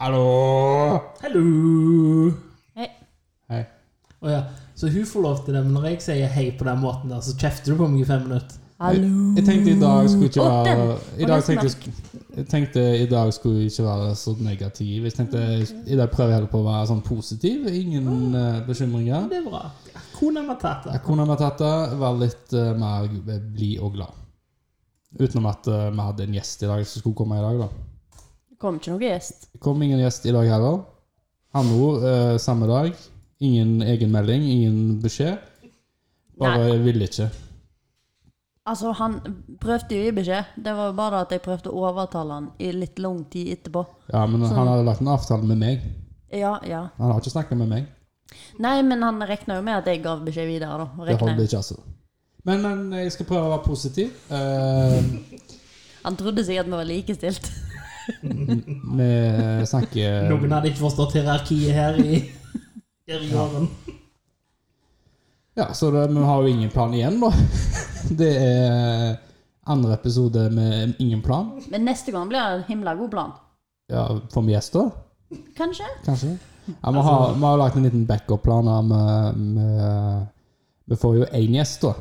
Hallo! Hallo! Hei. Hei. Å ja. Så hun får lov til det, men når jeg sier hei på den måten der, så kjefter du på meg i fem minutter. Hallo. Jeg tenkte i dag skulle ikke Å, være I den. Og dag den tenkte jeg, sk- jeg tenkte i dag skulle ikke være så negativ. Jeg tenkte I dag prøver jeg heller på å være sånn positiv. Ingen eh, bekymringer. Det er bra. Kona har tatt det. Jeg kunne vi tatt det, være litt eh, mer blid og glad. Utenom at eh, vi hadde en gjest i dag som skulle komme i dag, da. Det kom ikke noen gjest. Det kom ingen gjest i dag heller. Hanneord eh, samme dag. Ingen egen melding, ingen beskjed. Bare ville ikke. Altså, han prøvde jo å gi beskjed. Det var jo bare det at jeg prøvde å overtale han i litt lang tid etterpå. Ja, men Sånn. han hadde lagt en avtale med meg. Ja, ja. Han har ikke snakket med meg. Nei, men han regna jo med at jeg gav beskjed videre, da. Det Regner holder jeg. ikke, altså. Men, men jeg skal prøve å være positiv. Eh, Han trodde sikkert vi var likestilt. vi snakker Noen hadde ikke forstått hierarkiet her i her i gården. Ja, så det, vi har jo ingen plan igjen, da. Det er andre episode med ingen plan. Men neste gang blir det en himla god plan. Ja, Får vi gjester? Kanskje? Kanskje. Ja, vi har, vi har lagt en liten backup-plan her med, med Vi får jo én gjest, da.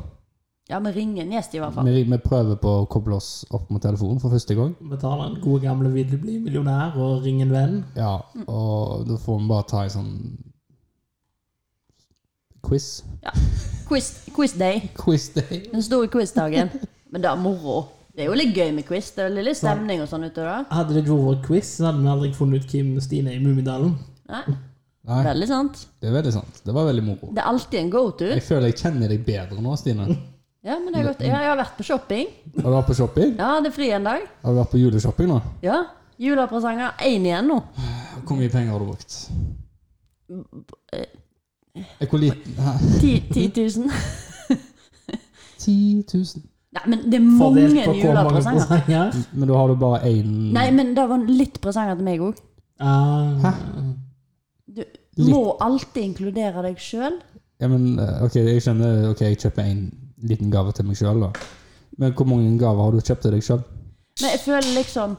Ja, vi ringer en gjest, i hvert fall. Vi, vi prøver på å koble oss opp mot telefonen for første gang. Vi tar den gode gamle 'vil du bli millionær' og 'ring en venn'. Ja, og da får vi bare ta en sånn quiz. Quiz, quiz day. Quiz day. Den store quizdagen. Men det er moro. Det er jo litt gøy med quiz. Det er litt stemning og sånn utover. Hadde det ikke vært vår quiz, så hadde vi aldri funnet ut hvem Stine er i Mummidalen. Nei, Nei, veldig sant. det er veldig sant. Det var veldig moro. Det er alltid en go-to. Jeg føler jeg kjenner deg bedre nå, Stine. Ja, men det er godt. Ja, jeg har vært på shopping. Har du vært på shopping? Ja, det er fri en dag. Har du vært på juleshopping nå? Ja. Julepresanger én igjen nå. Hvor mye penger har du brukt? Eh, Hvor liten Hæ? 10 000. 10 000. Nei, men det er mange Fordelt på hvor mange julepresanger. presanger. Men da har du bare én Nei, men det var litt presanger til meg òg. Ah, Du må alltid inkludere deg sjøl. Ja, men eh, ok, jeg skjønner. Ok, jeg kjøper en liten gave til meg sjøl, da. Men hvor mange gaver har du kjøpt til deg sjøl? Men jeg føler liksom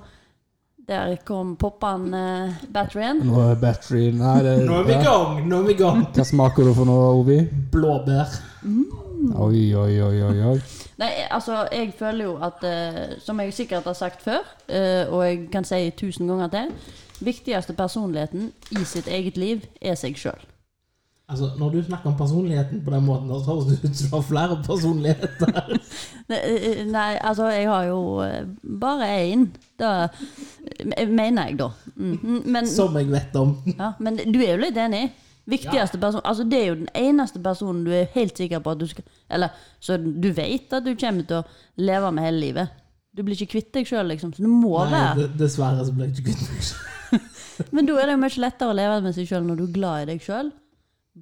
Der kom poppan eh, batterien. Nå er battery Nei, det nå er vi i ja. gang! Nå er vi i gang! Hva smaker du for noe, Ovi? Blåbær. Oi, oi, oi, oi. oi. Nei, altså, jeg føler jo at eh, Som jeg sikkert har sagt før, eh, og jeg kan si tusen ganger til Viktigste personligheten i sitt eget liv er seg sjøl. Altså, Når du snakker om personligheten på den måten, der, så høres det ut som du har flere personligheter. Ne- eh, Nei, altså, jeg har jo eh, bare én. Det me- mener jeg, da. Mm, mm, Men, Som jeg vet om. ja, men du er jo litt enig? Viktigste person, altså Det er jo den eneste personen du er helt sikker på at du skal Eller så du vet at du kommer til å leve med hele livet. Du blir ikke kvitt deg sjøl, liksom. Så du må Nei, være d- dessverre så ble jeg ikke kvitt meg selv. Men da er det jo mye lettere å leve med seg sjøl når du er glad i deg sjøl.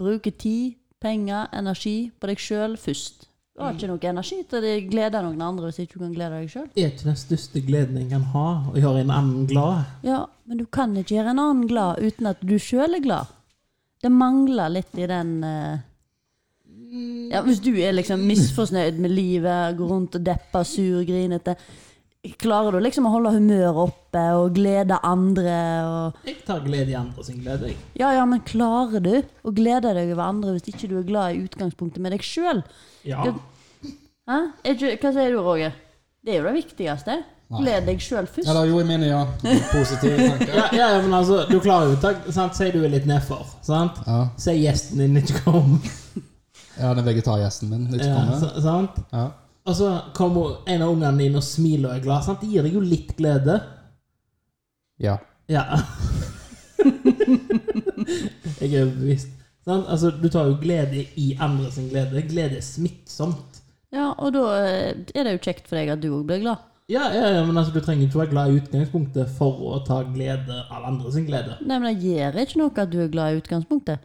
Bruke tid, penger, energi på deg sjøl først. Du har ikke noe energi til å glede noen andre hvis ikke du kan glede deg sjøl. Det er ikke den største gleden jeg kan ha, å gjøre en annen glad. Ja, men du kan ikke gjøre en annen glad uten at du sjøl er glad. Det mangler litt i den eh, Ja, Hvis du er liksom misfornøyd med livet, går rundt og depper, sur, grinete Klarer du liksom å holde humøret oppe og glede andre? Og, Jeg tar glede i andre sin glede, jeg. ja, ja, men klarer du å glede deg over andre hvis ikke du er glad i utgangspunktet med deg sjøl? Ja. Det- Hæ? Er ikke- Hva sier du, Roger? Det er jo det viktigste. Gled deg sjøl først. Eller jo, jeg mener ja. Positive tanker. Ja, ja, ja, men altså, du klarer jo tak, sant? Si du er litt nedfor, sant? Ja, Si gjesten din ikke kom. ja den vegetargjesten min. Ikke Ja, komme. sa- sant? Ja. Og så kommer en av ungene dine og smiler og er glad. sant? Det gir deg jo litt glede. ja. Ja. jeg er overbevist. Sant? Altså, du tar jo glede i andres glede. Glede er smittsomt. Ja, og da eh, er det jo kjekt for deg at du òg blir glad. Ja, ja, ja, men altså, Du trenger ikke være glad i utgangspunktet for å ta glede av andres glede. Nei, men det gjør ikke noe at du er glad i utgangspunktet.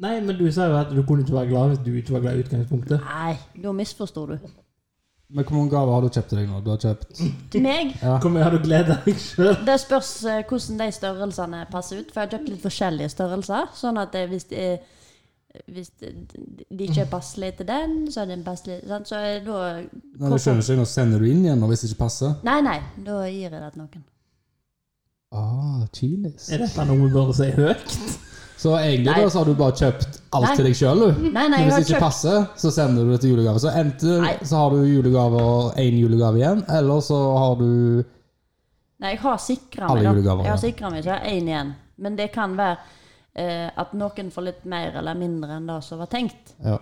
Nei, men du sa jo at du kunne ikke være glad hvis du ikke var glad i utgangspunktet. Nei, da misforstår du. Men hvor mange gaver har du kjøpt til deg nå? Du har kjøpt Til meg? Hvor mye har du gleda deg sjøl? Det spørs eh, hvordan de størrelsene passer ut, for jeg har kjøpt litt forskjellige størrelser. Sånn at eh, hvis de, hvis de de ikke er passelig til den, så er den passelig sant? Så eh, da Nei, du skjønner ikke, nå sender du inn igjen nå hvis det ikke passer. Nei, nei, da gir jeg det til noen. Ah, kynisk. Er dette noe vi bør si høyt? Så egentlig Nei. da, så har du bare kjøpt alt Nei. til deg sjøl, du. Nei, nei, Men jeg har hvis det ikke kjøpt passer, så sender du det til julegave. Så enten Nei. så har du julegave og én julegave igjen, eller så har du Nei, jeg har sikra Alle meg, da. julegaver, Jeg har ja. sikret meg, så jeg har én igjen. Men det kan være eh, at noen får litt mer eller mindre enn det som var tenkt. ja.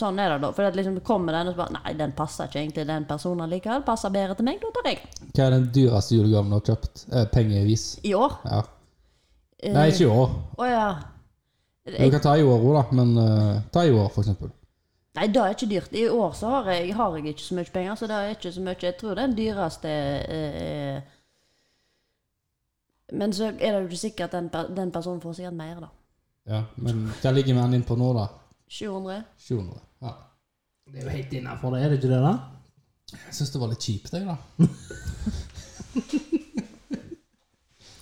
Sånn er det, da. For at liksom kommer den og så bare Nei, den passer ikke egentlig den personen likevel. Passer bedre til meg, da tar jeg den. Hva er den dyreste julegaven du har kjøpt? Eh, pengevis. I år. Ja. Eh, Nei, ikke i år. Å ja. Du Jeg, kan ta i år òg, da, men eh, ta i år, for eksempel. nei, det er ikke dyrt. I år så har jeg, har jeg ikke så mye penger, så det er ikke så mye. Jeg tror den dyreste eh, eh, Men så er det jo ikke sikkert at den, per- den personen får sikkert mer, da. Ja, men hva ligger vi an inn på nå, da? 700? 700. Ja. Det er jo helt innafor det, er det ikke det? da? Jeg syns det var litt kjipt, jeg, da.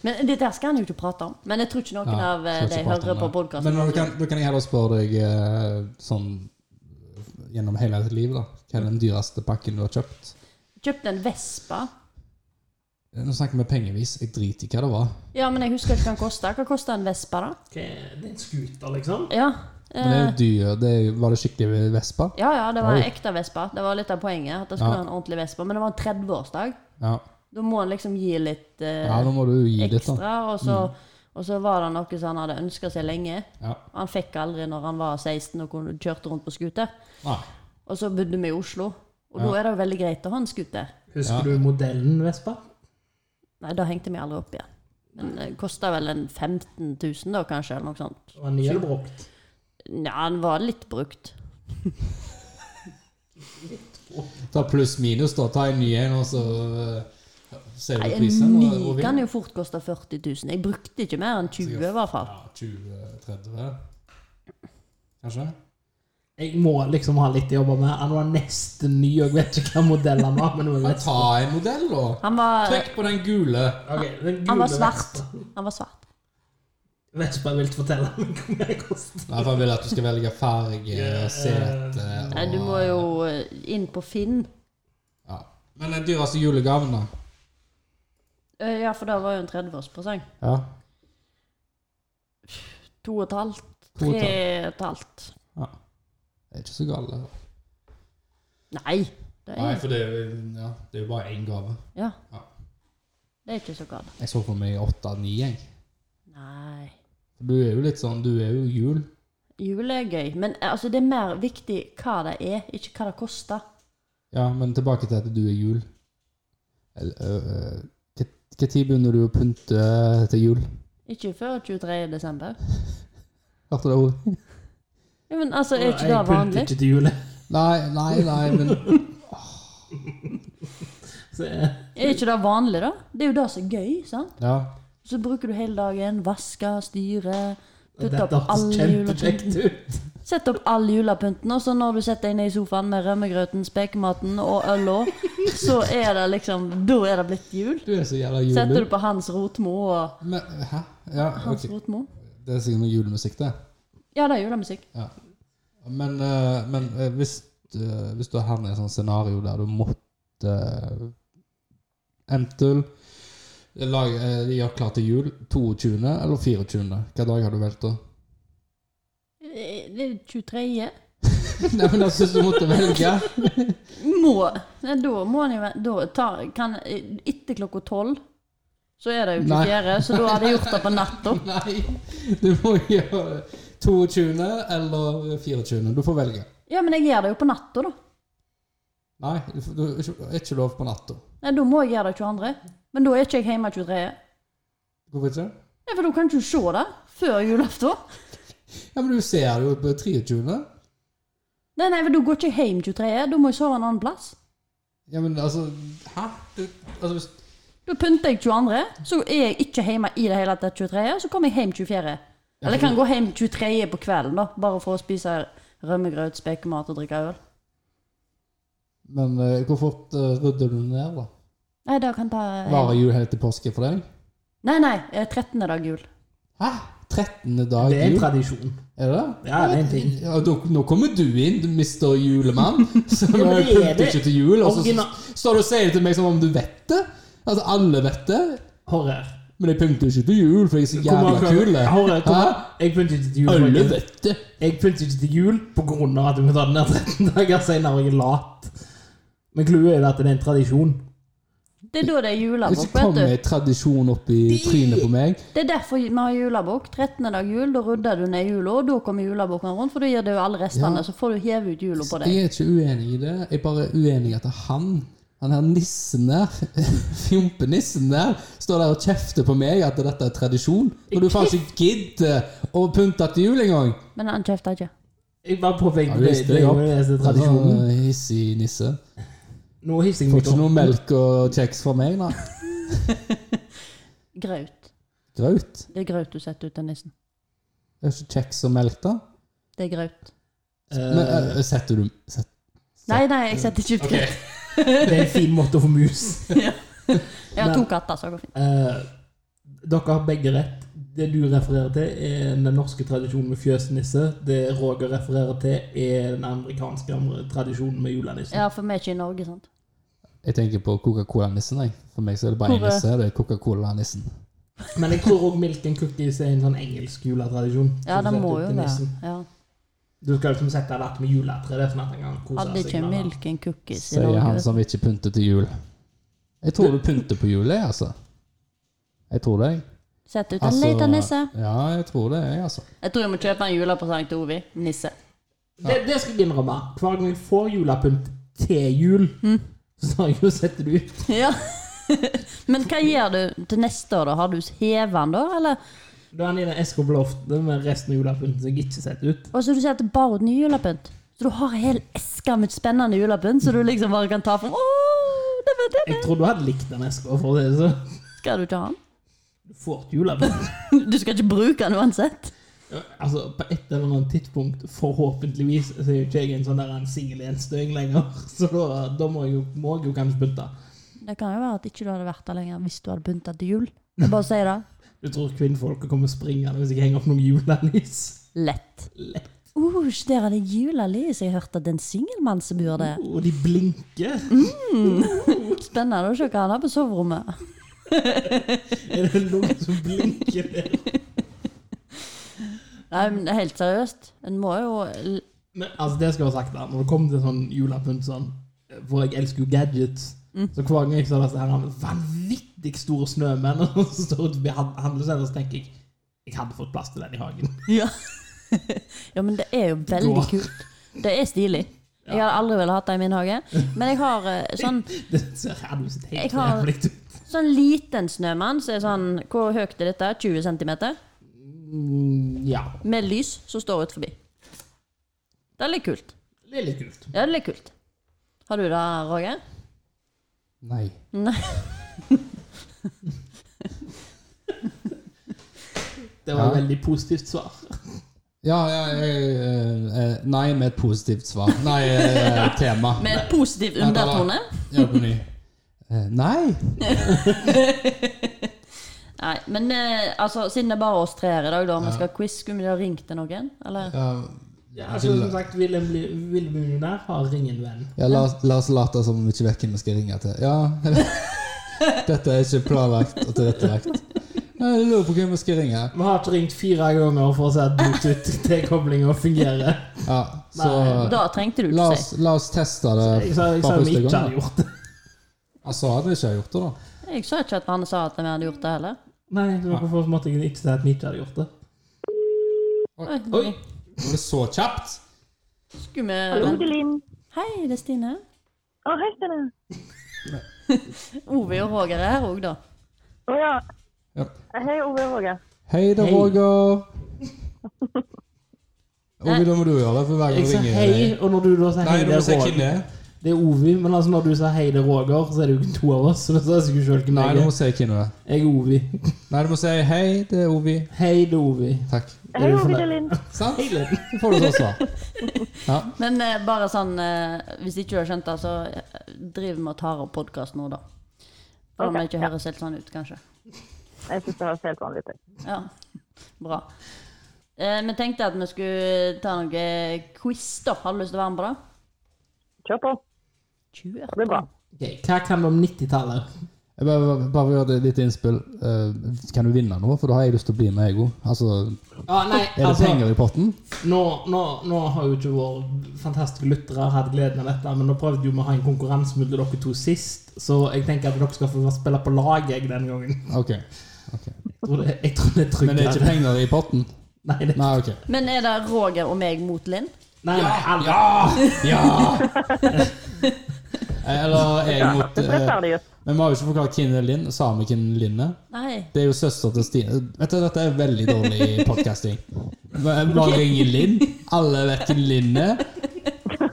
Men dette her skal han jo ikke prate om. Men jeg tror ikke noen Ja, av eh, skal ikke de prate om hører det. på podkasten. Men da kan, da kan jeg heller spørre deg eh, sånn eh, gjennom hele ditt liv, da. Hva er den dyreste pakken du har kjøpt? Eh, Kjøpte en Vespa. Nå snakker vi pengevis. Jeg driter i hva det var. Ja, men jeg husker ikke hva den kosta. Hva kosta en Vespa, da? Det er en scooter, liksom? Ja. Men det er Eh, jo dyr. Det er, jo- var det skikkelig Vespa? ja, ja, det var Oi. en ekte Vespa. Det var litt av poenget. At det skulle Ja. være en ordentlig Vespa. Men det var en 30-årsdag. Ja. Da må en liksom gi litt eh, ja, nå må du gi litt, da. Mm. ekstra. Og så, og så var det noe som han hadde ønska seg lenge. Ja. Han fikk aldri når han var 16 og kunne- kjørte rundt på scooter. Nei. Og så bodde vi i Oslo. Og da er det jo veldig greit å ha en scooter. Husker du modellen Vespa? Nei, da hengte vi aldri opp igjen. Men det kosta vel en 15 000 da, kanskje, eller noe sånt. Det var ny eller brukt? Nja, den var litt brukt. Ta pluss minus, da. Ta en ny en, og så eh, ser Nei, du en prisen. og- og ny vinn. kan jo fort koste 40 000. Jeg brukte ikke mer enn 20 i hvert fall. Ja, 20-30, kanskje? Jeg må liksom ha litt å jobbe med. Han var nesten ny, og jeg vet ikke hva modell han var. Men det var Men Vespa. ta en modell, da. Han var, Trykk på den gule. Ok, den gule han var svart. Vespa. Han var svart. Vespa vil ikke fortelle meg hvor mye det koster. Nei, for jeg vil at du skal velge farge, sete og Nei, du må jo eh, inn på Finn. ja. Men eh, den dyreste julegaven, da? Eh, Ja, for det var jo en 30-årspresang. Ja. To og et halvt. To og et Tre og et halvt. Det er ikke så galt. det. Nei, det Nei, er, for det er jo ja, det er jo bare én gave. ja. Ja. det er ikke så galt. Jeg så for meg åtte-ni, jeg. Nei. Du er jo litt sånn Du er jo jul. Jule er gøy, men eh, altså, det er mer viktig hva det er, ikke hva det koster. Ja, men tilbake til at du er jul. Når begynner du å pynte til jul? Ikke før 23. desember. Hørte du det ordet? Ja, men altså, er ikke det Jeg pynter vanlig? ikke til jule. Nei, nei, nei, men Så jeg, Er ikke det vanlig, da? Det er jo det som er gøy, sant? Ja. Så bruker du hele dagen, vasker, styrer, putter dette opp all hørtes julepynten. kjempekjekt ut. Sett opp all julepynten, og så når du setter deg ned i sofaen med rømmegrøten, spekematen og øla, så er det liksom Da er det blitt jul. Du er så jævla jul. Setter du på Hans Rotmo og Men, hæ? Ja, Hans ok. Rotmo? Det er sikkert noe julemusikk, det. Ja, det er julemusikk. Men, eh, men eh, hvis, eh, hvis du er her i et sånt scenario der du måtte uh, Enten lage, eh, gjøre klar til jul 22. eller 24. Hvilken dag har du valgt, da? Eh, Det er 23. Nei, men jeg syns du måtte velge. Må Nei, da må han jo være- da tar, kan, Etter klokka tolv så er det jo Nei. 24, så da har de gjort det på natta. Nei, du må gjøre 22. eller 24. Du får velge. Ja, men jeg gjør det jo på natta, da. Nei, du får- du er ikke lov på natta. Nei, Da må jeg gjøre det 22. Men da er ikke jeg hjemme 23. Hvorfor ikke? Nei, For da kan du ikke se det før julaften. Ja, men du ser det jo på 23. Nei, nei, for da går ikke jeg hjem 23. Da må jeg sove en annen plass. Ja, men altså Hæ? Du, altså, hvis, Da pynter jeg 22., så er jeg ikke hjemme i det hele tatt 23., så kommer jeg hjem 24. Eller jeg kan gå hjem 23. på kvelden, da, bare for å spise rømmegrøt, spekemat og drikke øl. men eh, hvor fort eh, rydder du ned, da? Nei, det kan ta eh, Varer jul helt til påske for deg? Nei, nei. eh, 13. dag jul. Hæ? 13. dag Det er en jul? tradisjon. Er det det? Ja, det er en ting. Ja, da, nå kommer du inn, du mister julemann. Så Ja, nå men det er pynter det ikke til jul, og så original- står du og sier til meg som om du vet det. Altså, alle vet det. Horror. Men jeg pynter ikke til jul, for jeg er så Hvor mange jævla ganger- kul. jeg. Horror, hvor- Hæ? Jeg pynter ikke til jul. Alle folkens. vet det. Jeg pynter ikke til jul pga. at jeg må ta den der 13 dager senere. Jeg er lat. Men clouet er at det er en tradisjon. Det er da det er Hvis det julebukk, vet kommer du. en tradisjon opp i trynet på meg Det er derfor vi har julebukk. 13. dag jul, da rydder du ned jula, og da kommer julebukken rundt, for da gir du alle restene, Ja. så får du heve ut jula på deg. Jeg er ikke uenig i det. Jeg er bare uenig i at han, han her nissen der, fjompenissen der, står der og kjefter på meg at dette er tradisjon. Når du faen ikke gidder å pynte til jul engang. Men han kjefter ikke. Jeg bare påpeker Ja, det. visst, det Det er er jo den eneste tradisjonen. Sånn, eh, Hissig nisse. Nå hisser jeg Får meg ikke opp. noe melk og kjeks fra meg, da. Graut. Graut. Det er graut du setter ut til nissen. Det er ikke kjeks og melk, da. Det er graut. Men Eh, eh, setter du set, Nei, nei, jeg setter ikke ut ok. graut. Det er en fin måte å få mus. Jeg har to Men- katter, så det går fint. Eh, dere har begge rett. Det du refererer til, er den norske tradisjonen med fjøsnisse. Det Roger refererer til, er den amerikanske tradisjonen med julenissen. Ja, for vi er ikke i Norge, sant. Jeg tenker på Coca-Cola-nissen. jeg. For meg så er det bare én Hvor, eh, nisse. Det er Coca-Cola-nissen. Men jeg tror òg milk and cookies er en sånn engelsk juletradisjon. Ja, som det setter må ut jo til være. nissen. Ja. Du skal liksom sette dette med juletre. Det er sånn at han kan kose Hadde ikke med det. milk and cookies i Sier Norge. han vet du. som ikke pynter til jul. Jeg tror du pynter på jul, jeg, altså. Jeg tror det. jeg. Sett ut en Altså, liten nisse. Ja, jeg tror det, jeg, altså. Jeg tror jeg må kjøpe en julepresang til Ovi. Nisse. Det, det skal jeg innrømme. Hver gang jeg får julepynt til jul, Mm. så har jeg jo sett det ut. Ja. Men hva gjør du til neste år, da? Har du hevet den da, eller? Da er han i den eska på loftet med resten av julepynten som jeg ikke har sett ut. Og så du sier at det er bare er ny julepynt. Så du har en hel eske med spennende julepynt, så du liksom bare kan ta fram. Åh, det var det. Jeg tror du hadde likt den eska, for å si det sånn. Skal du ikke ha den? Du får et julepynt. Du skal ikke bruke den uansett. Altså, på et eller annet tidspunkt, forhåpentligvis, så er jo ikke jeg en sånn der en singel enstøing lenger. Så da, da må jeg jo, må jeg jo kanskje pynte. Det kan jo være at ikke du hadde vært der lenger hvis du hadde pyntet til jul. Jeg bare sier det. Du tror kvinnfolket kommer springende hvis jeg henger opp noen julenys? Lett. Uh, der er det julelys. Jeg hørte at det er en singelmann som bor der. Og de blinker. Spennende å se hva han har på soverommet. Er det noen som blinker der? Nei, men helt seriøst. En må jo l- Men altså, det skal jeg ha sagt da, når det kommer til sånn julepynt sånn, for jeg elsker jo gadgets, Mm. så hver gang jeg så disse her vanvittig store snømenn og så står ute ved hand- handlesenteret, så tenker jeg, jeg hadde fått plass til den i hagen. Ja. ja, men det er jo veldig Gå. kult. Det er stilig. Jeg hadde aldri ville hatt det i min hage. Men jeg har eh, sånn, Det ser jævlig ut. Jeg Helt har- jævlig ut. sånn liten snømann som så er sånn Hvor høyt er dette? 20 cm? Mm, Ja, Med lys som står ut forbi. Det er litt kult. det er litt kult. Ja, det er litt kult. Har du det, Roger? Nei. Nei. Det var et Ja. veldig positivt svar. Ja, ja, jeg, eh, eh, nei med et positivt svar. Nei, eh, tema. Med et positiv undertone? Gjør det på ny. Eh, Nei. Nei, men eh, altså, siden det er bare oss tre her i dag, da, om vi skal ha quiz, skulle vi ha ringt til noen? Eller? Ja, Ja, altså, som sagt, vil en bli vil en bli millionær, har ingen venn. ja, la, oss- la oss late som om vi ikke vet hvem vi skal ringe til. Ja, dette er ikke planlagt og tilrettelagt. Jeg lurer på hvem vi skal ringe. Vi har ikke ringt fire ganger for å se at Bluetooth-tilkoblinga fungerer. Ja, så Nei. Da trengte du la ikke oss, si. la oss teste det Jeg sa, jeg sa vi ikke hadde gjort det. Han sa at vi ikke har gjort det, da. Jeg sa ikke at han sa at vi hadde gjort det heller. Nei, det var hvorfor måtte jeg ikke si at vi ikke hadde gjort det? Oi, Oi! Var det så kjapt? Skulle Hallo, vi Linn. Hei, det er Stine. Å, hei, Stine. Ove og Roger er her òg, da. Å ja. Ja. Hei, Ove og Roger. Hei da, Hei. Roger. Ove, da må du gjøre det, for hver gang Jeg sa ringer hei, og når du da sa Nei, hei, du det må er si hvem Roger. det er. Det er Ovi, men altså når du sa hei, det er Roger, så er det jo ikke to av oss. Så da sa jeg ikke selv hvem Nei, du jeg må er. si hvem det er. Jeg er Ovi. Nei, du må si hei, det er Ovi. Hei, det er Ovi. Takk. Hei, du Ove, fornøyd? det er Linn. Sant? Hei, Linn. Så får du sånn svar. Ja. Men eh, bare sånn, eh, hvis ikke du har skjønt det, så eh, driver vi og tar opp podkast nå, da. For om Ok, det ikke ja. høres helt sånn ut, kanskje. Jeg synes det høres helt vanlig ut. jeg. Ja, bra. Eh, Vi tenkte at vi skulle ta noe quiz, da. Har du lyst til å være med på det? Kjør på. 20 Det blir bra. Ok, Hva kan du om 90-tallet? Jeg bare, bare vil gjøre et lite innspill. Eh, kan du vinne noe? For da har jeg lyst til å bli med, jeg òg. Altså, Ja, nei, er det altså, penger i potten? nå, nå, nå har jo ikke våre fantastiske lyttere hatt gleden av dette, men nå prøvde jo vi å ha en konkurranse mellom dere to sist, så jeg tenker at dere skal få spille på lag jeg denne gangen. Ok. Jeg tror det, jeg tror det er Men det er ikke tryggere. penger i potten? Nei, det, Nei, ok. Men er det Roger og meg mot Linn? nei, nei, alle. Ja! Eller jeg Ja, mot det ser eh, ferdig ut. Men vi har jo ikke forklart hvem er Linn. Samme hvem Linn er. Nei. Det er jo søster til Stine. Vet du, Dette er veldig dårlig podcasting. Men Bare ringer Linn. Alle vet hvem Linn er.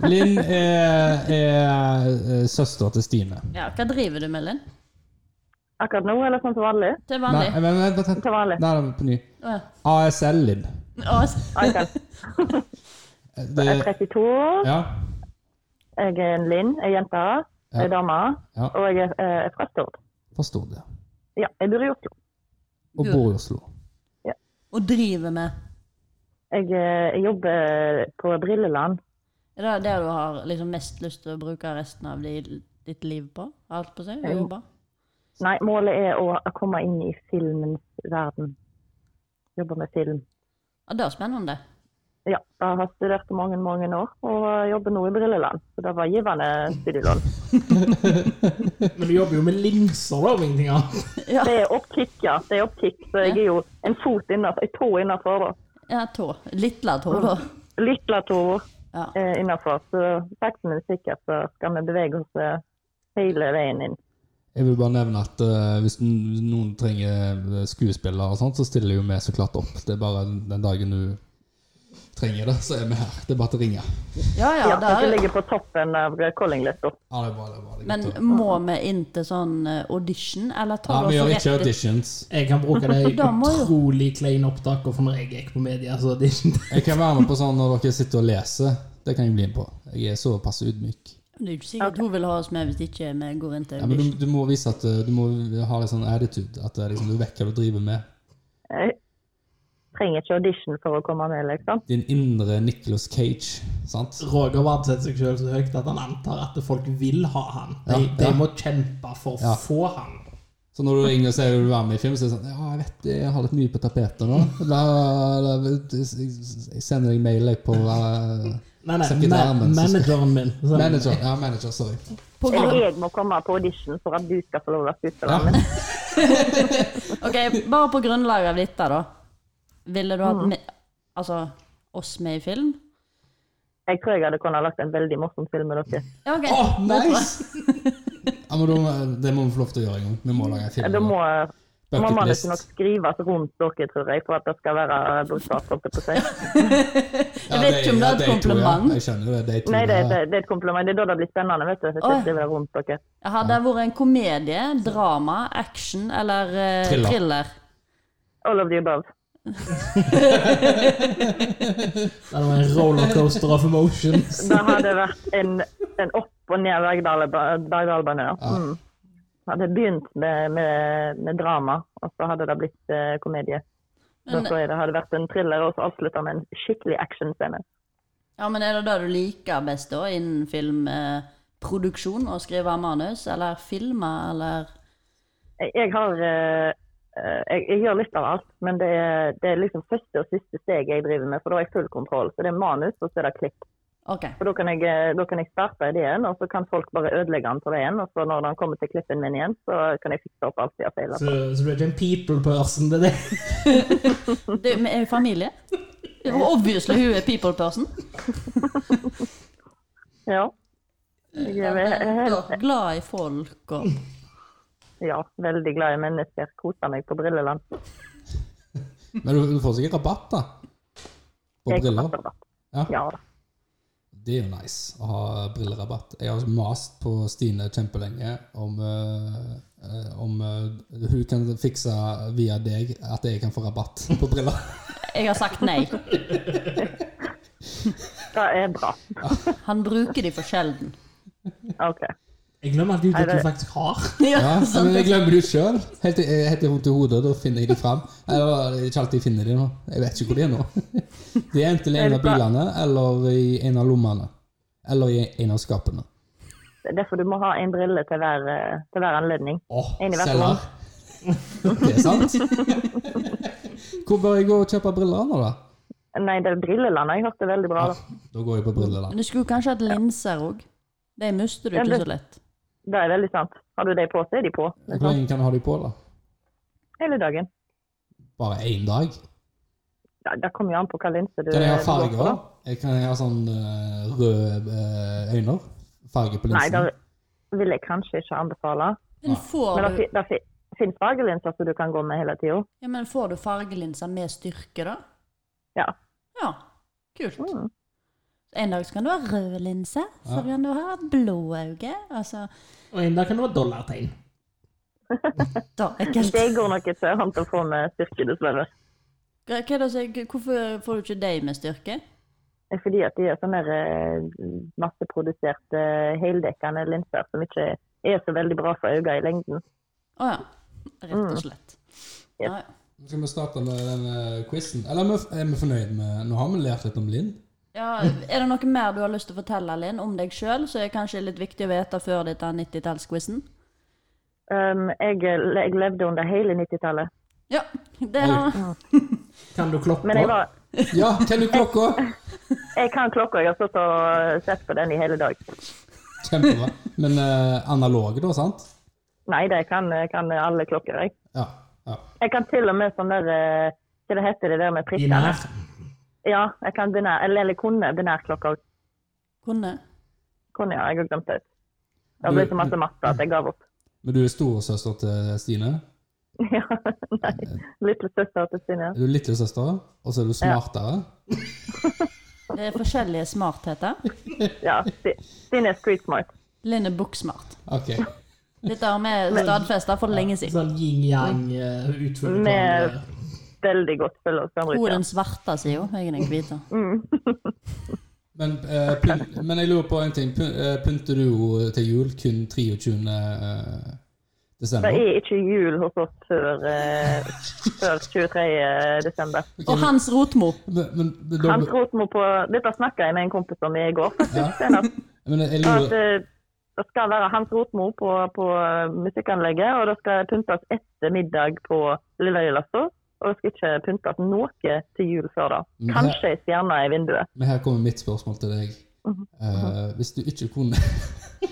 Linn er, er eh, søster til Stine. Ja, hva driver du med, Linn? Akkurat nå, eller sånn som vanlig? Til Nei, vanlig? men, men, vent, vent. Til vanlig. Nei, nei, på ny. Å, ASL-Linn. ja. Å, Ja, jeg kan. Jeg Eh. er 32. Ja. Jeg er en Linn, ei jente, Ja. ei dame, Ja. og jeg er, eh, er fra Stord. Forstår det. Ja, jeg bor i Oslo. Og bor i Oslo. Og driver med? Jeg, eh, jeg jobber på Brilleland. Er det det du har liksom mest lyst til å bruke resten av di- ditt liv på? Alt på seg? Ja. Og jobbe? Nei, målet er å komme inn i filmens verden. Jobber med film. Ja, det er spennende. Ja, jeg har studert i mange, mange år, og jobber nå i Brilleland. Så det var givende studielån. Men du jobber jo med linser, da, om ingenting annet. Ja, Det er optikk, ja. Det er optikk, så jeg er jo en fot innafor, ei tå innafor, da. ja tå. Lille tå, da. Lille tå Ja. eh, innafor. Så sakte, men sikkert så skal vi bevege oss eh, hele veien inn. Jeg vil bare nevne at eh, hvis n- noen trenger eh, skuespillere og sånt, så stiller jo vi så klart opp. Det er bare den dagen du trenger det, så er vi her. Det er bare til å ringe. ja, ja, Ja, det jeg er jo ligger på toppen av eh, callinglista. Ja, det er bra, det er bra. Det er Men godt å- må vi inn til sånn eh, audition, eller ja, vi tar du gjør oss ikke rett ut? auditions. Jeg kan bruke de Da må jo- utrolig kleine opptakene fra når jeg gikk på media, så det er ikke Jeg kan være med på sånn når dere sitter og leser. Det kan jeg bli med på. Jeg er såpass ydmyk. Det er jo ikke sikkert hun vil ha oss med hvis ikke vi går inn til Ja, men du, audition. du må vise at eh, du må ha litt sånn attitude. At det er liksom, du vet hva du driver med. Jeg trenger ikke audition for å komme med, liksom. Din indre Nicholas Cage. sant? Roger verdsetter seg sjøl så høyt at han antar at folk vil ha han. De, Ja, de ja. må kjempe for å Ja. få han. Så når du ringer og sier du vil være med i film, så er det sånn Ja, jeg vet det, jeg har litt mye på tapetet nå. La, la, jeg sender deg mail jeg, på eh, Nei, nei, Sekretæren ma min, så- manageren min. Sånn. Så- Manager. Ja, manager, sorry. Eller jeg må komme på audition for at du skal få lov å være Ja. skuespiller. Ok, bare på grunnlag av dette, da. Ville du hatt med, altså, oss med i film? Jeg tror jeg hadde kunnet lagt en veldig morsom film med dere. Ja, ok. Åh, nice! Ja, men da, det må vi få lov til å gjøre en gang. Vi må lage en film. Da må, må Bucket manuset list. nok skrives rundt dere, tror jeg, for at det skal være brukbart. holdt jeg på å si. Ja, Jeg vet ikke om det ja, er et de to, kompliment. Ja. Jeg skjønner jo det. De to, Nei, det, ja. det, det er et kompliment. Det er da det blir spennende, vet du. Hvis Oi. jeg skriver det rundt dere. Hadde det vært en komedie, drama, action eller eh, Thriller. thriller? All of the above. Det var en rollercoaster of emotions. Det hadde vært en, en opp- og ned berg-dal-bane. Ja. Mm. Hadde begynt med, med, med drama, og så hadde det blitt eh, komedie. Da Men- tror jeg det hadde vært en thriller, og så avslutta med en skikkelig actionscene. Ja, men er det det du liker best da, innen filmproduksjon? å skrive manus, eller filme, eller Jeg, jeg har eh, eh, jeg, jeg gjør litt av alt, men det er, det er liksom første og siste steg jeg driver med, for da har jeg full kontroll. Så det er manus, og så er det klipp. Ok. For da kan jeg, eh, da kan jeg starte ideen, og så kan folk bare ødelegge den på veien. Og så når den kommer til klippen min igjen, så kan jeg fikse opp alt de har feila. Så, så du er ikke en people person, det er det. Det, men er jo familie? Det var Obviously hun er people person. Ja. Jeg Ja, er men ve- da, glad i folk og ja, veldig glad i mennesker. Koser meg på Brilleland. Men du, du får sikkert rabatt, da. På Jeg briller. passer da. Ja. Ja da. Det er jo nice å ha brillerabatt. Jeg har mast på Stine kjempelenge om, eh, eh, om eh, hun kan fikse via deg at jeg kan få rabatt på briller. Jeg har sagt nei. Det er bra. Han bruker de for sjelden. OK. Jeg glemmer alltid ut at Nei, det- du faktisk har. Ja, sant men det. jeg glemmer det jo sjøl. Helt til helt til vondt i hodet. Da finner jeg de fram. Eller det er ikke alltid jeg finner de nå. Jeg vet ikke hvor de er nå. De er enten i en av bilene eller i en av lommene. Eller i en av skapene. Det er derfor du må ha en brille til hver, eh, til hver anledning. Åh, Inn i hvert selger. Det er sant. Hvor bør jeg gå og kjøpe briller nå, da? Nei, det er Brilleland jeg hørte veldig bra. da. Da går jeg på Brilleland. Men du skulle kanskje hatt linser òg. De mister du Ja, ikke det- så lett. Det er veldig sant. Har du de på, så er de på. Hvor lenge kan du ha de på, da? Hele dagen. Bare én dag? Ja, det kommer jo an på hva linse du Kan jeg ha du Eh, går for, farger? da. Jeg kan jeg ha sånn eh, røde eh, øyne? Farge på Nei, linsen? det vil jeg kanskje ikke anbefale. Nei. Men får Men det, du, fi- det fi- finnes fargelinser som du kan gå med hele tida. ja, men får du fargelinser med styrke, da? Ja. Ja. Kult. Mm. En dag så kan du ha rød linse, så Ja. kan du ha blå øyne. Altså, Og en dag kan det være dollartegn. da, ekkelt. Det går nok ikke an å få med styrke, dessverre. Hva hva er det, som- hvorfor får du ikke deg med styrke? Fordi at de er sånne eh, masseproduserte heldekkende linser som ikke er så veldig bra for øynene i lengden. Å ja. Mm. Rett og slett. Yes. Ja, ja. Nå skal vi starte med den eh, quizen. Eller er vi- er vi fornøyd med Nå har vi lært litt om Linn. Ja, er det noe mer du har lyst til å fortelle, Linn, om deg sjøl, som er kanskje litt viktig å vite før dette 90-tallsquizen? Um, jeg, jeg levde under hele 90-tallet. Ja, det har Kan du klokke? Men jeg, var, Ja, kjenner du klokka? jeg kan klokka, jeg har stått og sett på den i hele dag. Kjempebra. Men eh, analoge, da, sant? Nei, det kan, kan alle klokker, jeg. Ja. ja. Jeg kan til og med sånn der eh, Hva det heter det der med prikkene? Binær. Ja, jeg kan binær, eller, eller kunne binærklokka. kunne. Kunne, ja. Jeg har glemt det. Det ble så masse matte at jeg gav opp. Men du er storesøster til Stine? Ja, nei. Lille søster til Stine. Er du lillesøster, og så er du smartere? Det er forskjellige smartheter. Ja, Sti- Stine er street smart. Linn er booksmart. Ok. Dette har vi stadfesta for lenge siden. Sånn yin-yang eh, utfyllende Med- tall. Veldig godt følge oss. Hun er den svarte sida, jeg er den hvite. Men, eh, pynt, men jeg lurer på en ting. Pyn- eh, Pynter du jo til jul kun 23. eh, Det desember? er ikke jul hos oss før, eh, før 23. desember. Og Hans Rotmo. Men, men, men, da, Hans Rotmo på Dette snakka jeg med en kompis om i går, faktisk. Ja. senest. men jeg At, lurer, eh, det skal være Hans Rotmo på, på eh, musikkanlegget, og det skal pyntes etter middag på lille julaften. Og det skal ikke pyntes noe til jul før da. Men her- Kanskje ei stjerne i vinduet. men her kommer mitt spørsmål til deg. Mhm. Eh, hvis, du ikke kunne,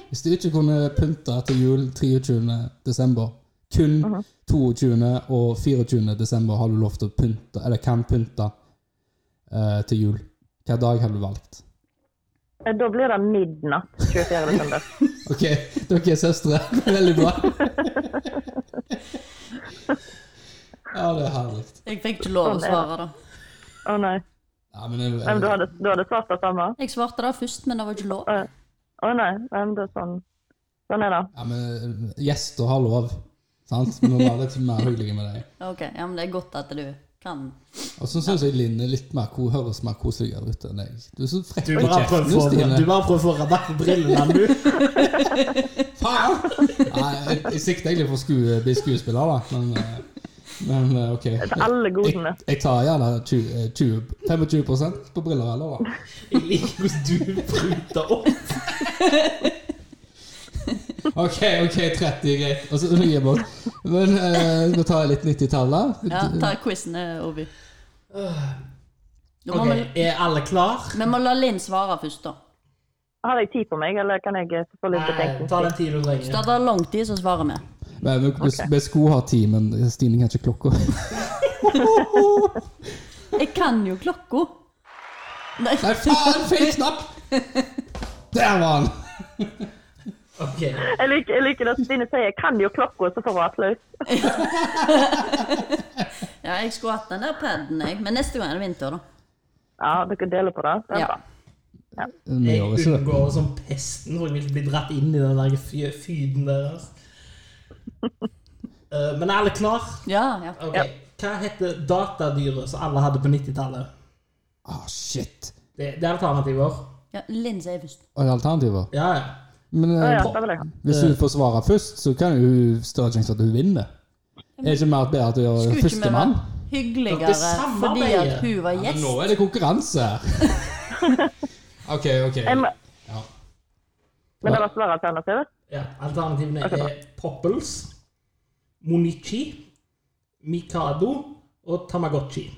hvis du ikke kunne pynte til jul 23. desember, kun Mhm. 22. og 24. desember har du lov til å pynte, eller kan pynte, eh, til jul. Hvilken dag har du valgt? Eh, Da blir det midnatt 24. desember. Ok, dere er søstre. Veldig bra. Ja, det er herlig. Jeg fikk ikke lov å svare, da. Å nei. Ja, men jeg, Men du hadde, du hadde svart det samme? Jeg svarte det først, men det var ikke lov. Å å nei. Men det er sånn. Sånn er det. ja, men eh, gjester har lov. Sant? Vi må være litt mer hyggelige med deg. Ok, ja, men Det er godt at du kan Og så syns jeg Linn er litt mer, ko- høres mer koseligere ut enn deg. Du er så frekk Du på bare prøver kjeften, du, å få- Stine. du bare prøver å få rabatt på brillene, du. Faen! Nei, jeg, jeg sikter egentlig for å skue, bli skuespiller, da, men, eh, men eh, OK. Til alle godene. Jeg, jeg tar gjerne 20, eh, 20, 25 på briller, eller? da. Jeg liker hvordan du pruter opp. OK, ok, 30, greit. Og så gir jeg bort. Men eh, vi tar litt 90-tallet. Ja, ta quizen, eh, Ovi. Da må Ok, Er alle klar? vi, vi må la Linn svare først, da. Har jeg tid på meg, eller kan jeg eh, få litt Nei, betenkning? ta den tiden du trenger. Da tar det lang tid, så svarer vi. Men vi, vi, vi skulle ha ti, men Stine kan ikke klokka. Jeg kan jo klokka. Nei, Nei, faen! Feil knapp! Der var han! Ok, Jeg liker, jeg liker det at Stine sier 'kan jo klokka', så får hun applaus. ja, jeg skulle hatt den der paden, jeg. Men neste gang er det vinter, da. Ja, dere deler på det. det er Ja. bra. Vi sånn. Jeg gjør ikke det. unngår som pesten, for jeg vil ikke bli dratt inn i den der fy- fyden deres. Eh, Men er alle klar? Ja, ja. Ok, Hva heter datadyret som alle hadde på 90-tallet? Ah, shit. Det, det er alternativer. ja Linn sier først. Og det er alternativer. Ja, ja. Men eh, Å ja, det var det. hvis hun får svare først, så kan jo hun større sjanse at hun vinner. Er det ikke mer bedre at hun gjør Skulle ikke vi førstemann? vært hyggeligere Dere samarbeider. fordi at hun var Men gjest? nå er det konkurranse her. OK, OK. Jeg må, Ja. Men det var svaralternativet? Ja, alternativene er Popples, Monichi, Mikado og Tamagotchi.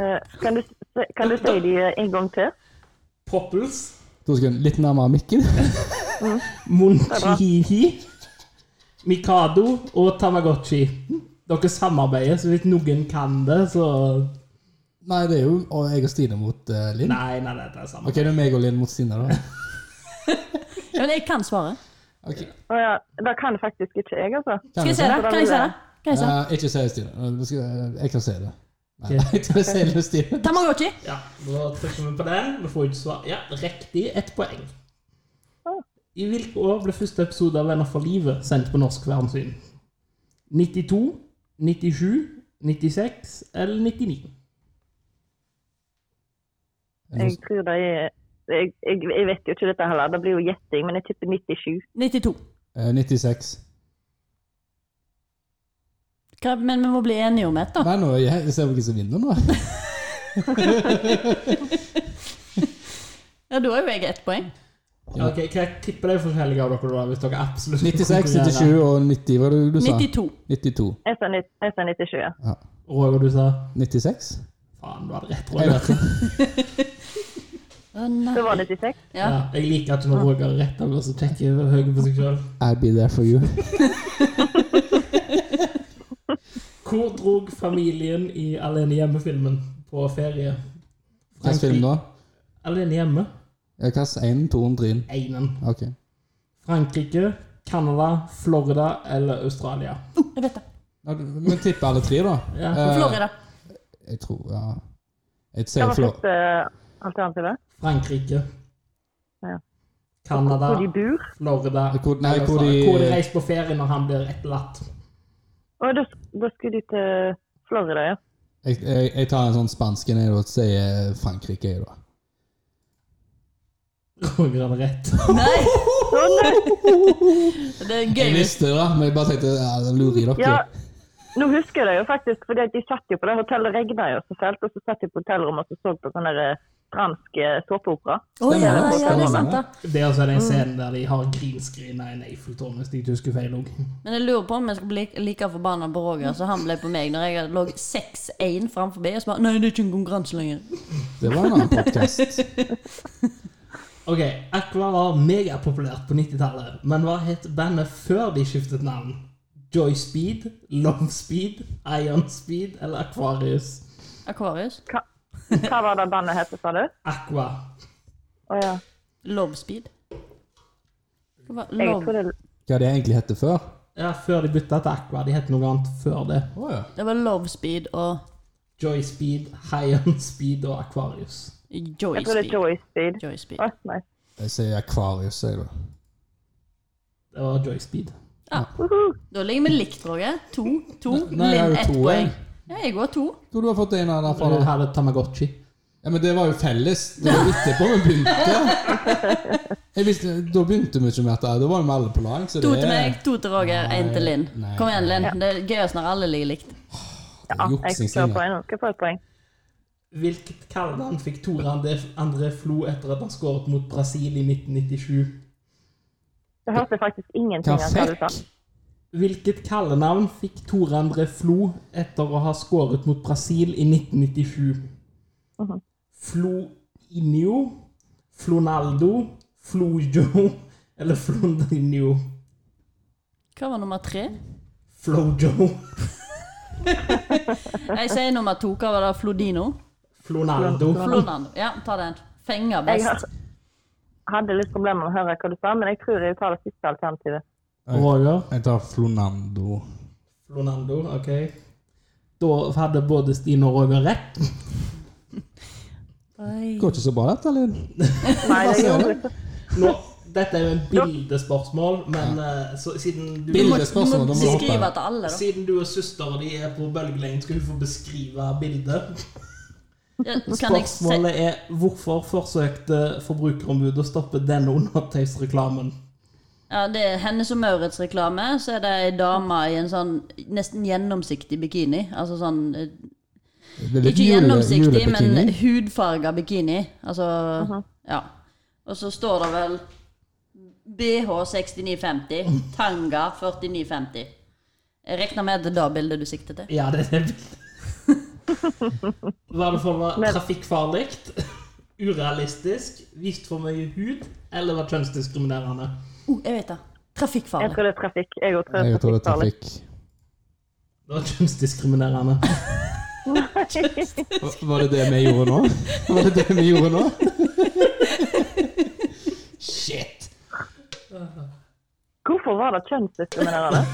Eh, Kan du, kan du si de en gang til? Popples, To sekunder. Litt nærmere mikken. Monchihi, Mikado og Tamagotchi. Dere samarbeider, så hvis noen kan det, så Nei, det er jo og jeg og Stine mot eh, Linn. Nei, nei, dette er samme. Ok, det er meg og Linn mot Stine, da. Ja, men jeg kan svaret. Ok. Å ja, det kan faktisk ikke jeg, altså. Kan Skal du jeg se det? Kan jeg se det? Kan jeg se det? Eh, ikke si det, Stine. Eh, du skal- eh, Jeg kan si det. Nei, jeg kan si det, Stine. Tamagotchi? Ja, Da trykker vi på den. Vi får ikke svar. Ja, riktig. Ett poeng. I hvilke år ble første episode av Venner for livet sendt på norsk fjernsyn? 92, 97, 96 eller 99? Jeg tror det er jeg, jeg, jeg vet jo ikke dette heller, det blir jo gjetting, men jeg tipper 97. 92. Eh, 96. Hva, men vi må bli enige om et, da. Nei, nå jeg, jeg ser hvem som vinner nå. Ja, Da er jo jeg ett poeng. Ja. Ok, Hva tipper de forskjellige av dere, da? hvis dere absolutt skal 96, konkurrere? 97 og 90, hva var det du sa? 92. 92. Jeg sa nitt- jeg sa 97. ja. Ja. Roger, du sa 96? Faen, du hadde rett. Jeg Roger. vet ikke. Å, nei. Så var det 96. Ja. Ja, jeg liker at når Roger har rett av oss og tenker høyt på seg sjøl. I'll be there for you. Hvor drog familien i Alene hjemme-filmen på ferie? Hva slags film da? Alene hjemme. Jeg kaster 1, 2, 3. Einen. Ok. Frankrike, Canada, Florida eller Australia? Jeg vet det. Ja, du- Men tipper alle tre, da. Ja. Eh, Florida. jeg tror, ja. Jeg Hva ser var eh, Flor... første alternativet? Frankrike. Ja. Canada, Hvor de bor? Florida Hvor- nei, eller hvor Australia. de- hvor de reiser på ferie når han blir etterlatt. Å, da, da skulle de til Florida, ja. Jeg, jeg, jeg tar en sånn spansk en, jeg, da. Sier Frankrike, jeg, da. Roger hadde rett. Nei! Det er gøy. Jeg hvis- visste det, da, men jeg bare tenkte ja, det lurer i dere. Ja, nå husker jeg det jo faktisk, fordi at de satt jo på det hotellet, regna jo så fælt, og så satt de på hotellrommet og så så på sånn der eh, fransk eh, såpeopera. Å ja, ja, det er sant, da. Det er altså Mm. den scenen der de har greenskrin av en Eiffeltårn, hvis jeg ikke husker feil òg. Men jeg lurer på om jeg skal bli like forbanna på Roger som han ble på meg når jeg lå 6-1 framfor meg og så bare Nei, det er ikke en konkurranse lenger. Det var en annen podkast. Ok, Aqua var megapopulært på 90-tallet, men hva het bandet før de skiftet navn? Joy Speed, Love Speed, Ion Speed eller Aquarius? Aquarius. Hva, hva var det bandet het, sa du? Aqua. Å ja. Love speed. Hva var- Jeg Love. trodde Hva det egentlig hette før? Ja, før de bytta til Aqua. De het noe annet før det. Oh, ja. Det var love speed og Joy Speed, Ion Speed og Aquarius. joy jeg trodde speed. Joy Speed. Joy speed. Å, nei. Jeg sier Akvarius, jeg, da. Det var Joy Speed. Da ligger vi likt, Roger. To. to. Nei, jeg Linn har ett jo to, poeng. jeg. Ja, jeg går to. Hvor du har fått en av For derfra? du da? hadde Tamagotchi. Ja, men det var jo felles. Det var jo etterpå vi begynte. Jeg visste, da begynte vi ikke med dette. Da var vi alle på lag. Så To det til meg, to til Roger, én til Linn. nei. Kom igjen, Linn. Det er gøyest når alle ligger likt. Ja, jeg Juksing, skal få Stine. poeng. Nå skal jeg få et poeng. Hvilket kallenavn fikk Tore André- André Flo etter at han skåret mot Brasil i 1997? Det hørte jeg faktisk ingenting Hva av hva du sa. fikk? Hvilket kallenavn fikk Tore André Flo etter å ha skåret mot Brasil i 1997? Floinio, Flonaldo, Flojo eller Flondinio? Hva var nummer tre? Flojo, Jeg sier nummer to. Hva var det? Flodino? Flonaldo. Flodando. Ja, ta den. Fenger Jeg best. har- hadde litt problemer med å høre hva du sa, men jeg tror jeg tar det siste alternativet. Roger. Jeg tar Flonando. Flonando, ok. Da hadde både Stine og Roger rett. Oi. Går ikke så bra, dette, Linn. Nei, det ser gjorde det. ikke. Nå, dette er jo en bildespørsmål, men eh, så, siden du Du må, Bildespørsmål, du da må må vi hoppe. beskrive til alle, da. Siden du og søsteren din er på bølgelengde, skal du få beskrive bildet. Ja, kan jeg si Spørsmålet er hvorfor forsøkte Forbrukerombudet å stoppe denne undertøysreklamen? ja, Det er Hennes og Maurits reklame. Så er det ei dame i en sånn nesten gjennomsiktig bikini. Altså sånn eh, Det er litt Ikke jule- gjennomsiktig, men julebikini. hudfarga bikini. Altså Ja. Og så står det vel BH 6950. Tanga 4950. Jeg regner med at det er det bildet du sikter til. Ja, det er det. Var det for meg trafikkfarlig, urealistisk, vist for mye hud, eller var kjønnsdiskriminerende? Oh, jeg vet det. Jeg Trafikkfarlig. tror det er trafikk. Jeg òg tror det Jeg er tror det er trafikkfarlig. trafikk. Det var kjønnsdiskriminerende. Hva- Var det det vi gjorde nå? Var det det vi gjorde nå? Shit. Hvorfor var det kjønnsdiskriminerende?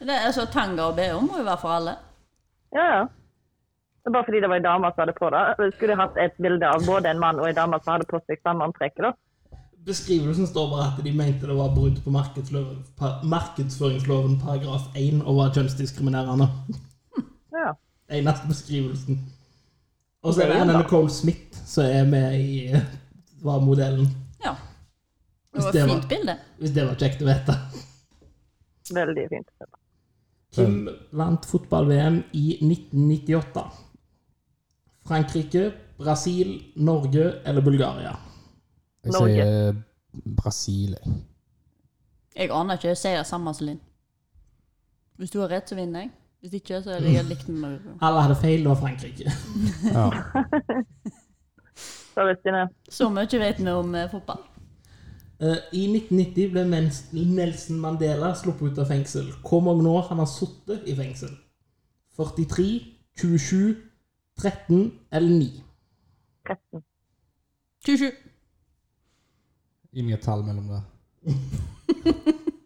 Det er altså Tanga og BH må jo være for alle. Ja, ja. Det er Bare fordi det var en dame som hadde på det. Skulle jeg hatt et bilde av både en mann og en dame som hadde på seg samme antrekket, da. Beskrivelsen står bare at de mente det var brudd på markedsloven, pa- markedsføringsloven paragraf 1 og var kjønnsdiskriminerende. Ja. Eneste beskrivelsen. Og så er det Det er jo Anna bra. Nicole Smith som er med i eh, var modellen. Ja. Det var Det et var- fint bilde. Hvis det var kjekt å vite. Veldig fint. Kim vant fotball-VM i 1998. Frankrike, Brasil, Norge eller Bulgaria? Jeg Norge. sier eh, Brasil. jeg. Jeg aner ikke. Jeg sier det samme som Linn. Hvis du har rett, så vinner jeg. Hvis ikke, så er det jeg likt med meg. Alle hadde feil, det var Frankrike. Ja. Sorry, Stine. Så mye vet vi om eh, fotball. Eh, I 1990 ble Mens- Nelson Mandela sluppet ut av fengsel. Hvor mange år han har sittet i fengsel? 43, 27, 13 eller 9? 13. 27. Gi meg et tall mellom det.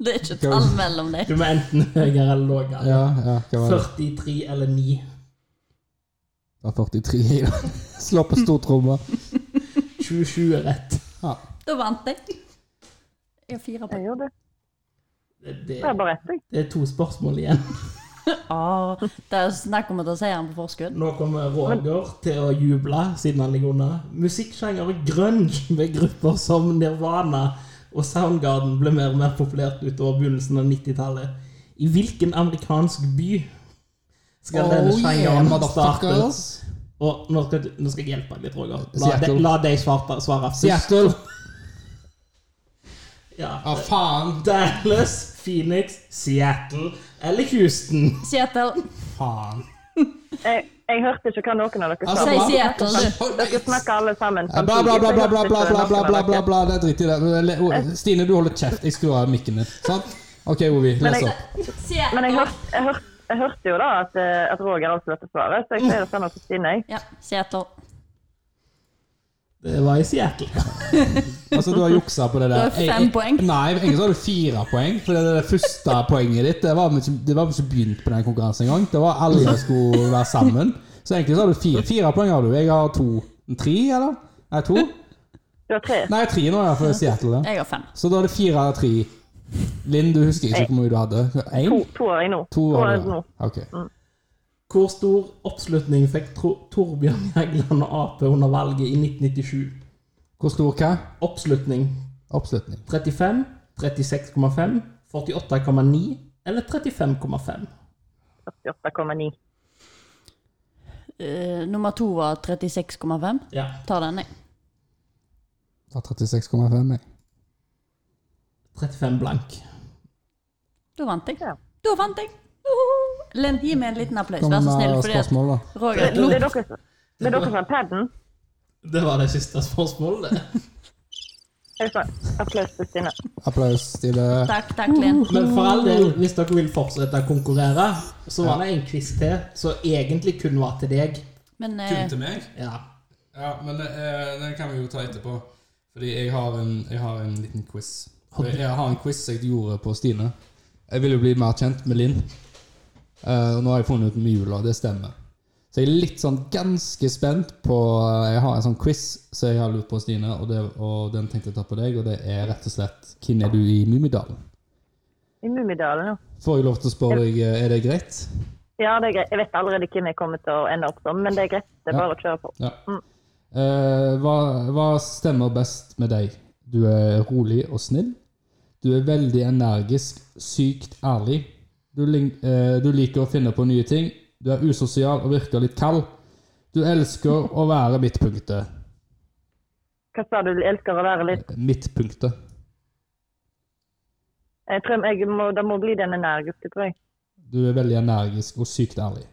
Det er ikke et tall mellom deg. Du må enten høyere eller lavere. Ja, ja, hva var det? 43 eller 9? Det var 43 i det. Slå på stortromma. 27 er rett. Ja. Da vant jeg. Jeg har fire Jeg poeng. gjorde det. Det, det, Det er bare ett, jeg. det er to spørsmål igjen. Ah, det er snakk om å ta seieren på forskudd. Nå kommer Roger til å juble, siden han ligger unna. Musikksjanger grunge med grupper som Nirvana og Soundgarden ble mer og mer populært utover begynnelsen av 90-tallet. I hvilken amerikansk by Oh, skal denne sjangeren startes? Og nå skal, du- nå skal jeg hjelpe deg litt, Roger. La, de, Seattle. la deg svarte, svare først. Seattle. Ja. Ja, faen. Dallas, Phoenix, Seattle eller Houston? Seattle. Faen. jeg. Jeg hørte ikke hva noen av dere sa. Altså, Si Seattle, du. Dere snakker alle sammen. Bla, bla, bla, bla, bla, bla, bla, bla, bla, bla, bla, bla. Det er dritt i det. Men, le- o- Stine, du holder kjeft. Jeg skrur av mikken din. Sant? OK, Ovi. Men Les jeg- opp. Seattle. Men jeg hørte, jeg hørte, jeg hørte jo da at, eh, at Roger avslørte svaret, så jeg sier det samme til Stine. jeg. Ja, Seattle. Det var i Seattle. Altså, du har juksa på det der. Du har fem Jeg- jeg- poeng. Nei, egentlig så har du fire poeng. For det, er det første poenget ditt Det var vi ikke, det var vi ikke begynt på den konkurransen engang. Det var alle skulle være sammen. Så egentlig så har du fire, fire poeng. har du Jeg har to. Tre, eller? Nei, to? Du har tre. Nei, tre nå, ja, for Seattle. ja. Jeg har fem. Så da er det fire av tre. Linn, du husker ikke hvor mye du hadde? To, Én? to år i nå. To? år var i det. nå. Ok. Hvor stor oppslutning fikk Tor Torbjørn Jagland og Ap under valget i 1997? Hvor stor hva? Oppslutning Oppslutning. 35, 36,5, 48,9 eller 35,5? 48,9. Eh, nummer to var 36,5. Ja. Tar den, jeg. Da 36,5, jeg. 35 blank. Da vant jeg. Ja. Da vant jeg! Uhuhu. Linn, gi meg en liten applaus, Kom vær så snill. med Fordi at spørsmål, da. Det, Roger det er dere som det er dere som har paden. Det var det siste spørsmålet. det. Jeg sa applaus til Stine. Applaus til eh, det. Takk, takk, Linn. Men for all del, hvis dere vil fortsette å konkurrere, så var det en quiz til som egentlig kun var til deg. Men eh, meg? Ja. Ja, men eh, den kan vi jo ta etterpå. Fordi jeg har en, jeg har en liten quiz. For Jeg har en quiz jeg gjorde på Stine. Jeg vil jo bli mer kjent med Linn. Eh, og nå har jeg funnet ut med jula, det stemmer. Så jeg er litt sånn ganske spent på Jeg har en sånn quiz som jeg har lurt på Stine, og, det, og den tenkte jeg ta på deg, og det er rett og slett Hvem er du i Mummidalen? I Mummidalen, ja. Får jeg lov til å spørre deg, eh, er det greit? Ja, det er greit. Jeg vet allerede hvem jeg kommer til å ende opp som, men det er greit. Det er bare å kjøre på. Ja. Eh, hva, hva stemmer best med deg? Du er rolig og snill. Du er veldig energisk, sykt ærlig. Du, ling- eh, du liker å finne på nye ting. Du er usosial og virker litt kald. Du elsker å være midtpunktet. Hva sa du? Elsker å være litt Midtpunktet. Jeg tror jeg må, Det må bli den energiske, tror jeg. Du er veldig energisk og sykt ærlig.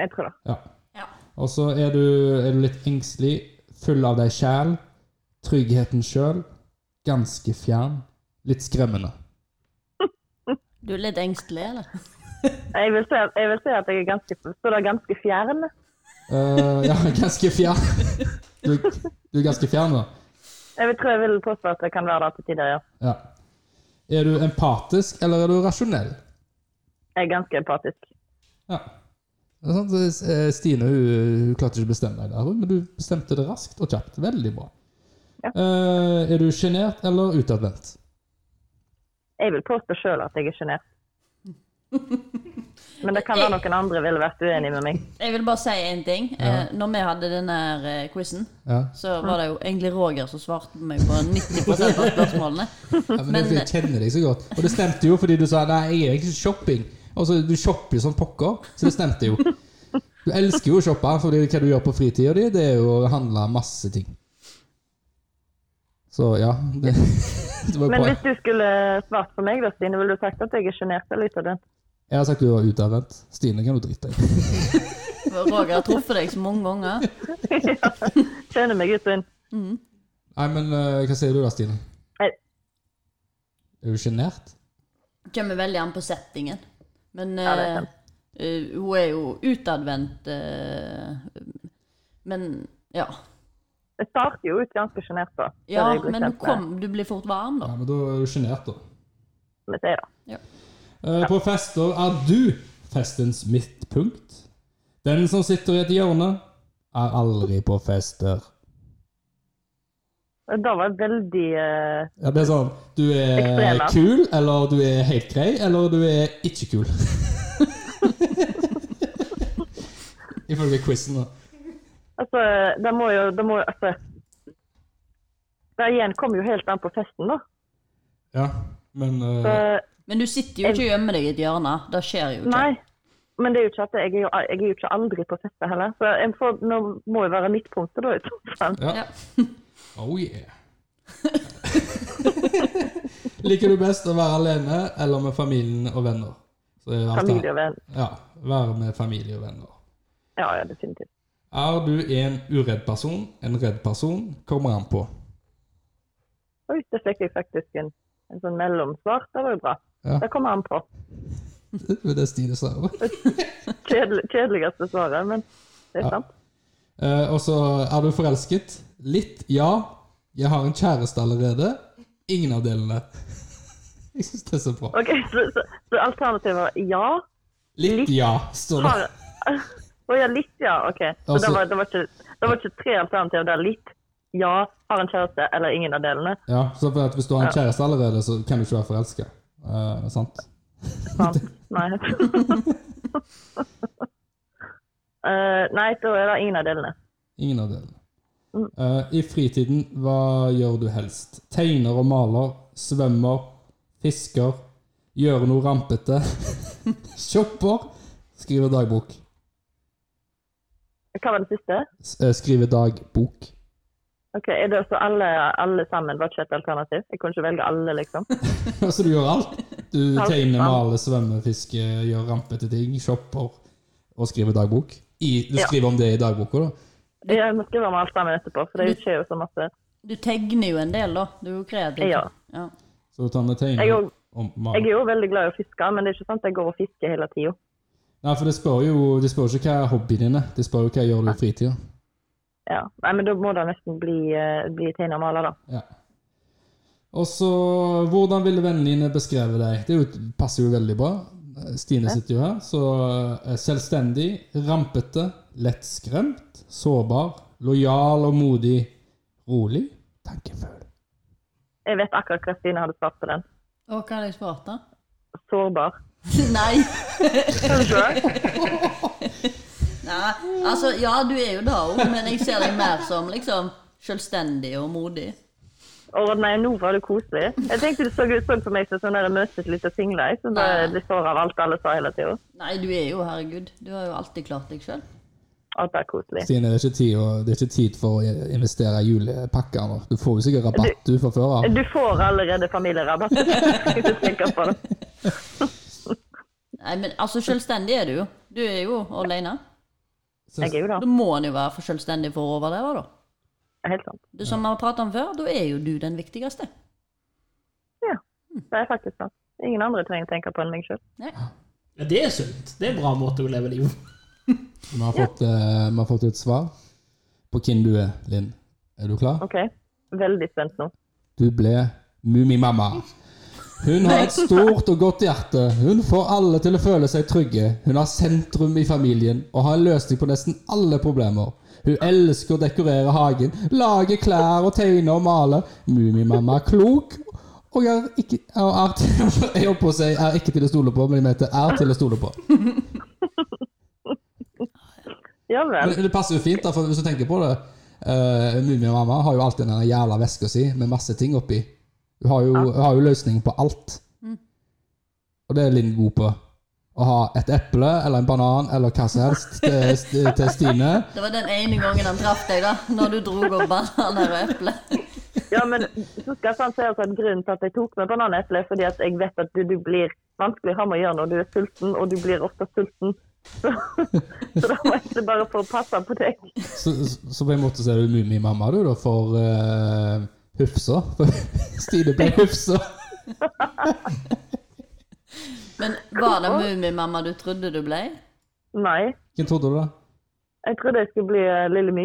Jeg tror det. Ja. Ja. Og så er du, er du litt engstelig, full av deg sjæl, tryggheten sjøl, ganske fjern, litt skremmende. Du er litt engstelig, eller? Jeg vil si at jeg, vil si at jeg er ganske, står det ganske fjern. Eh, ja, ganske fjern. Du, du er ganske fjern, da. Jeg vil, tror jeg vil påstå at det kan være det til tider, ja. Ja. Er du empatisk, eller er du rasjonell? Jeg er ganske empatisk. Ja. Det er sant, så, eh, Stine hun, hun klarte ikke å bestemme deg der, hun, men du bestemte det raskt og kjapt. Veldig bra. Ja. Eh, er du sjenert eller utadvendt? Jeg vil påstå sjøl at jeg er sjenert. Men det kan være noen andre ville vært uenig med meg. Jeg vil bare si én ting. Eh, når vi hadde denne eh, quizen, Ja. så var det jo egentlig Roger som svarte meg på 90 av spørsmålene. Ja, men, det er fordi eh, jeg kjenner deg så godt. Og det stemte jo fordi du sa nei, jeg er ikke shopping. Og så Du shopper jo som pokker, så det stemte jo. Du elsker jo å shoppe, for hva du gjør på fritida di, det er jo å handle masse ting. Så ja. Det, det var Men bra. hvis du skulle svart for meg, da, Stine, ville du sagt at jeg er sjenert eller utadvendt? Jeg har sagt du var utadvendt. Stine kan du drite i. For Roger har truffet deg så mange ganger. Kjenner meg ut og inn. Nei, men eh, hva sier du da, Stine? Nei. Er du sjenert? Kommer veldig an på settingen. Men Ja, det er eh, sant. eh, hun er jo utadvendt. Eh, men ja. Jeg starter jo ut ganske sjenert, da. før Ja, jeg blir men du, kjent med- kom, du blir fort varm, da. Ja, men da er du sjenert, da. med deg, da. Eh, På fester er du festens midtpunkt. Den som sitter i et hjørne, er aldri på fester. Og Da var jeg veldig eh, Ja, det er sånn Du er Ekstreme. kul, eller du er helt grei, eller du er ikke kul. Ifølge quizen, da. Altså, det må jo Det må jo altså, Det igjen kommer jo helt an på festen, da. Ja, men eh, Så, Men du sitter jo ikke og gjemmer deg i et hjørne. Det skjer jo ikke. Nei, men det er jo ikke at jeg er jo, jeg er jo ikke aldri på fester heller. Så en får, nå må jo være midtpunktet, da. i så fall. ja. Ja. Oh yeah. Liker du best å være alene eller med familien og venner? Så er det alt Familie annet. og venn. Ja, være med familie og venner. Ja, ja, definitivt. Er du en uredd person, en redd person, kommer an på. Oi, det fikk jeg faktisk en, en sånn mellomsvar. Det var jo bra. Ja. Det kommer an på. Det er det Stine sa. Kjedel, kjedeligste svaret, men det er Ja. sant. Eh, og så er du forelsket. Litt, ja. Jeg har en kjæreste allerede. Ingen av delene. Jeg syns det er så bra. Ok, Så, så, så alternativet var ja. Litt, ja, står det. Har, å ja, litt ja. OK. Så Altså- det, var, det, var ikke, det var ikke tre alternativer der. Litt ja, har en kjæreste eller ingen av delene. Ja, så for at hvis du har en kjæreste allerede, så kan du ikke være forelska. Eh, sant? Sant. Nei. Eh, nei, da er det ingen av delene. Ingen av delene. Mm. Eh, I fritiden, hva gjør du helst? Tegner og maler, svømmer, fisker, gjør noe rampete, shopper, skriver dagbok. Hva var det siste? S eh, skriver dagbok. Ok, er det så alle, alle sammen var ikke et alternativ? Jeg kunne ikke velge alle, liksom. altså, du gjør alt. Du Alt, tegner, sant. maler, svømmer, fisker, gjør rampete ting, shopper og skriver dagbok. I, du Ja. skriver om det i dagboka, da? Jeg må skrive om alt sammen etterpå, for det skjer jo så masse. Du tegner jo en del, da. Du er jo kreativ. Ja. Ja. Så du tar med tegner Jeg er jo- og Jeg maler. er jo veldig glad i å fiske, men det er ikke sant at jeg går og fisker hele tida. Nei, for de spør jo de spør ikke hva er hobbyen din er, de spør jo hva gjør du i fritida. Ja. Nei, men da må det nesten bli, eh, bli tegner og maler, da. Ja. Og så, hvordan ville vennene dine beskrevet deg? Det er jo, passer jo veldig bra. Stine sitter jo her. Så eh, selvstendig, rampete, lettskremt, sårbar, lojal og modig, rolig, tankefull. Jeg vet akkurat hva Stine hadde svart på den. Og hva hadde jeg svart, da? Sårbar. Nei. Kan du se? Nei. Altså, ja, du er jo det òg, men jeg ser deg mer som liksom selvstendig og modig. Å nei, nå var det koselig. Jeg tenkte det så ut så på meg som sånn der møtet litt og singla, jeg, som bare Nei. blir såra av alt alle sa hele tida. Nei, du er jo herregud. Du har jo alltid klart deg sjøl. Alt er koselig. Stine, det er ikke tid, å- det er ikke tid for å investere i julepakker nå. Du får jo sikkert rabatt du fra før av. Du får allerede familierabatt. hvis du tenker på det. Nei, men altså, selvstendig er du jo. Du er jo alene. Jeg er jo da. Da må en jo være for selvstendig for å overleve, da. Helt sant. Det som vi har pratet om før, da er jo du den viktigste. Det er faktisk sant. Ingen andre trenger å tenke på enn meg sjøl. Ja, det er sunt. Det er en bra måte å leve livet på. Vi har fått, eh, vi har fått et svar på hvem du er, Linn. Er du klar? OK? Veldig spent nå. Du ble Mummimamma. Hun har et stort og godt hjerte. Hun får alle til å føle seg trygge. Hun har sentrum i familien og har en løsning på nesten alle problemer. Hun elsker å dekorere hagen, lage klær og tegne og male. Mummimamma er klok og er ikke og er til, Jeg holdt på å si er ikke til å stole på, men jeg mente er til å stole på. Ja vel. Men det passer jo fint, da, for hvis du tenker på det uh, Mummimamma har jo alltid den jævla veska si med masse ting oppi. Hun har jo, hun har jo løsning på alt. Mm. Og det er Linn god på. Å ha et eple eller en banan eller hva som helst til, til Stine. Det var den ene gangen han traff deg, da. Når du dro opp bananer og eple. Ja, men så skal jeg sant si at grunnen til at jeg tok med bananeple, er fordi at jeg vet at du, du blir vanskelig ham å gjøre når du er sulten, og du blir ofte sulten. Så, så da må jeg bare få passe på deg. Så, så på en måte så er du Mummimamma, du, da, for uh, Hufsa. For Stine ble Hufsa. Men var det Mummimamma du trodde du ble? Nei. Hvem trodde du, da? Jeg trodde jeg skulle bli eh, Lille My.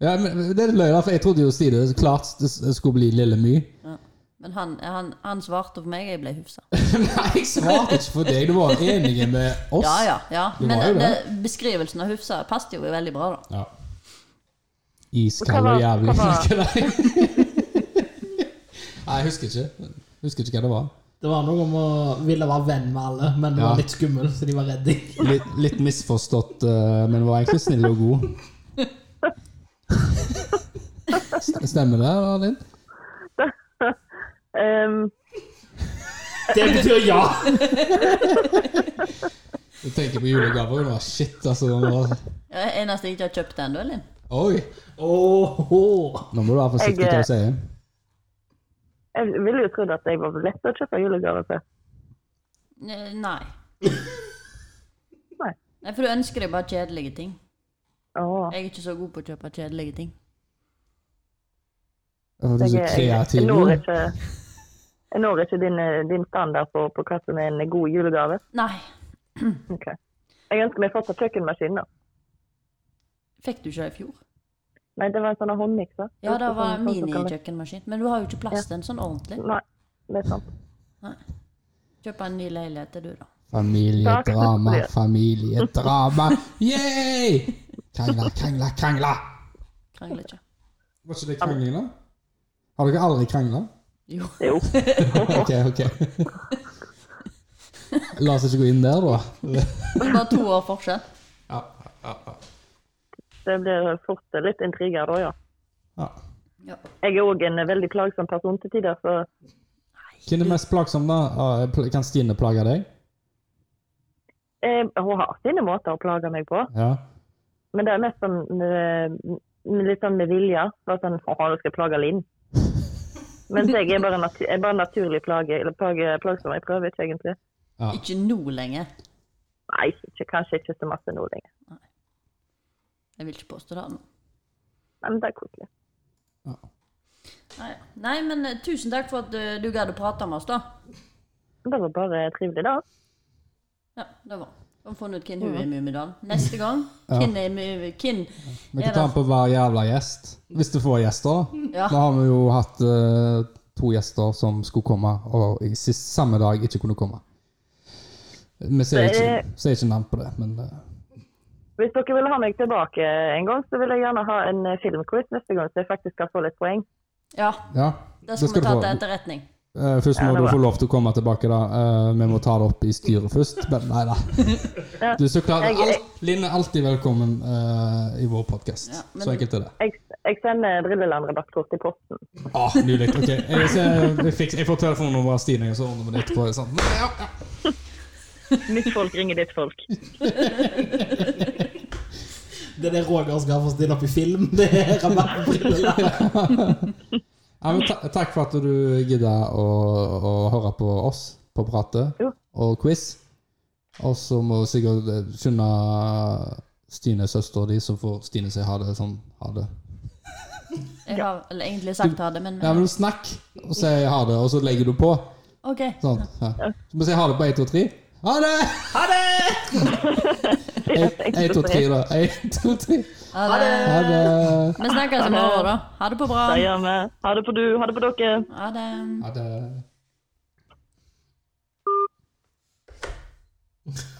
Ja, men Det er løgn, da, for jeg trodde jo Stine klart det skulle bli Lille My. Ja. Men han, han, han svarte for meg, jeg ble hufsa. Nei, jeg svarte ikke for deg. Du var enig med oss. Ja, ja. ja. Det Men var jo det, det. beskrivelsen av hufsa passet jo veldig bra, da. Ja. Hva Iskald var- og jævlig. hva var- Nei, Nei, jeg husker ikke. Jeg Husker ikke hva det var. Det var noe om å ville være venn med alle, men det Ja. var litt skummel, så de var redde. Litt, litt misforstått, eh, men var egentlig snill og god. St- Stemmer det, Linn? Ehm, Det betyr ja! Du tenker på julegaver. Hun var shit, altså. hun var- Ja, eneste jeg ikke har kjøpt ennå, Linn. Oi! Åhå. Nå må du være forsiktig med hva du sier. jeg ville jo trodd at jeg var lett å kjøpe julegave til. Eh, Nei. Nei. Nei, for du ønsker deg bare kjedelige ting. Åh. Jeg er ikke så god på å kjøpe kjedelige ting. Ja, for Du er så jeg, jeg, jeg, kreativ. når du. ikke, jeg når ikke din, eh, din standard på, på hva som er en god julegave. Nei. Ok. Jeg ønsker meg fortsatt kjøkkenmaskin. da. Fikk du ikke det i fjor? Nei, det var en sånn håndmikser. Ja, det var en Sånn- sånn som kan- minikjøkkenmaskin. Men du har jo ikke plass til en sånn ordentlig. Nei, det er sant. Kjøp en ny leilighet til du, da. Familiedrama, familiedrama. Yeah! Krangler, krangler, krangler. Krangler ikke. Var ikke det krangling, da? Har dere aldri krangla? Jo. Jo. Ok, ok. La oss ikke gå inn der, da. Bare to år forskjell. Ja. Det blir fort eh, litt intriger da, ja. ja. Ja. Jeg er òg en eh, veldig plagsom person til tider, så Hvem er mest plagsom, da? Ah, pl- Kan Stine plage deg? eh, hun har sine måter å plage meg på. Ja. Men det er mest sånn eh, litt sånn med vilje. Bare sånn Å, nå skal jeg plage Linn. Mens jeg er bare, natu jeg er bare naturlig plage, eller plage, plagsom. Jeg prøver ikke egentlig. ja. Ikke nå lenger. Nei, ikke, kanskje ikke så masse nå lenger. Jeg vil ikke påstå det. nå. Nei, Men det er koselig. Nei, Nei men eh, tusen takk for at eh, du gadd å prate med oss, da. Det var bare trivelig, da. Ja, det var Vi har funnet ut hvem hun er i Mummidalen. Neste gang hvem er mu- hvem Vi er kan ta den det? på hver jævla gjest. Hvis du får gjester, da. Ja. Nå har vi jo hatt eh, to gjester som skulle komme, og i sist, samme dag ikke kunne komme. Vi ser Det ikke, er- ser ikke navn på det, men eh, Hvis dere vil ha meg tilbake en gang, så vil jeg gjerne ha en eh, filmquiz neste gang, så jeg faktisk skal få litt poeng. Ja, ja. det skal vi ta du til få. etterretning. Eh, først må Ja, du det var- få lov til å komme tilbake, da. Eh, vi må ta det opp i styret først. Men nei da. Du er så klar. Jeg- jeg- Alt, Linn er alltid velkommen eh, i vår podkast. Ja, men- Så enkelt er det. Jeg, jeg sender Drilleland-rabattkort i posten. Ah, Nydelig. Ok, jeg, ser- jeg, fikk, jeg får telefonnummeret av Stine, og så ordner vi det etterpå. sant? sånn. Men Ja, ja. Mitt folk ringer ditt folk. Det er det Roger skal få stille opp i film. Det er rabattbriller. Ja, men ta, takk for at du gidda å, å høre på oss på pratet Jo. og quiz. Og så må vi sikkert eh, skynde Stines søster og de, så får Stine si ha det sånn. Ha det. Jeg har vel egentlig sagt ha det, men Ja, men snakk og si ha det, og så legger du på. OK. Sånn. Ja. Så må vi si ha det på 1, 2, 3. Ha det! Jeg 1, 2, 3, da. 1, 2, 3. Ha det. Ha det. Vi snakkes i morgen, da. Ha det på bra. Det gjør vi. Ha det på du. Ha det på dere. Ha det. Ha det.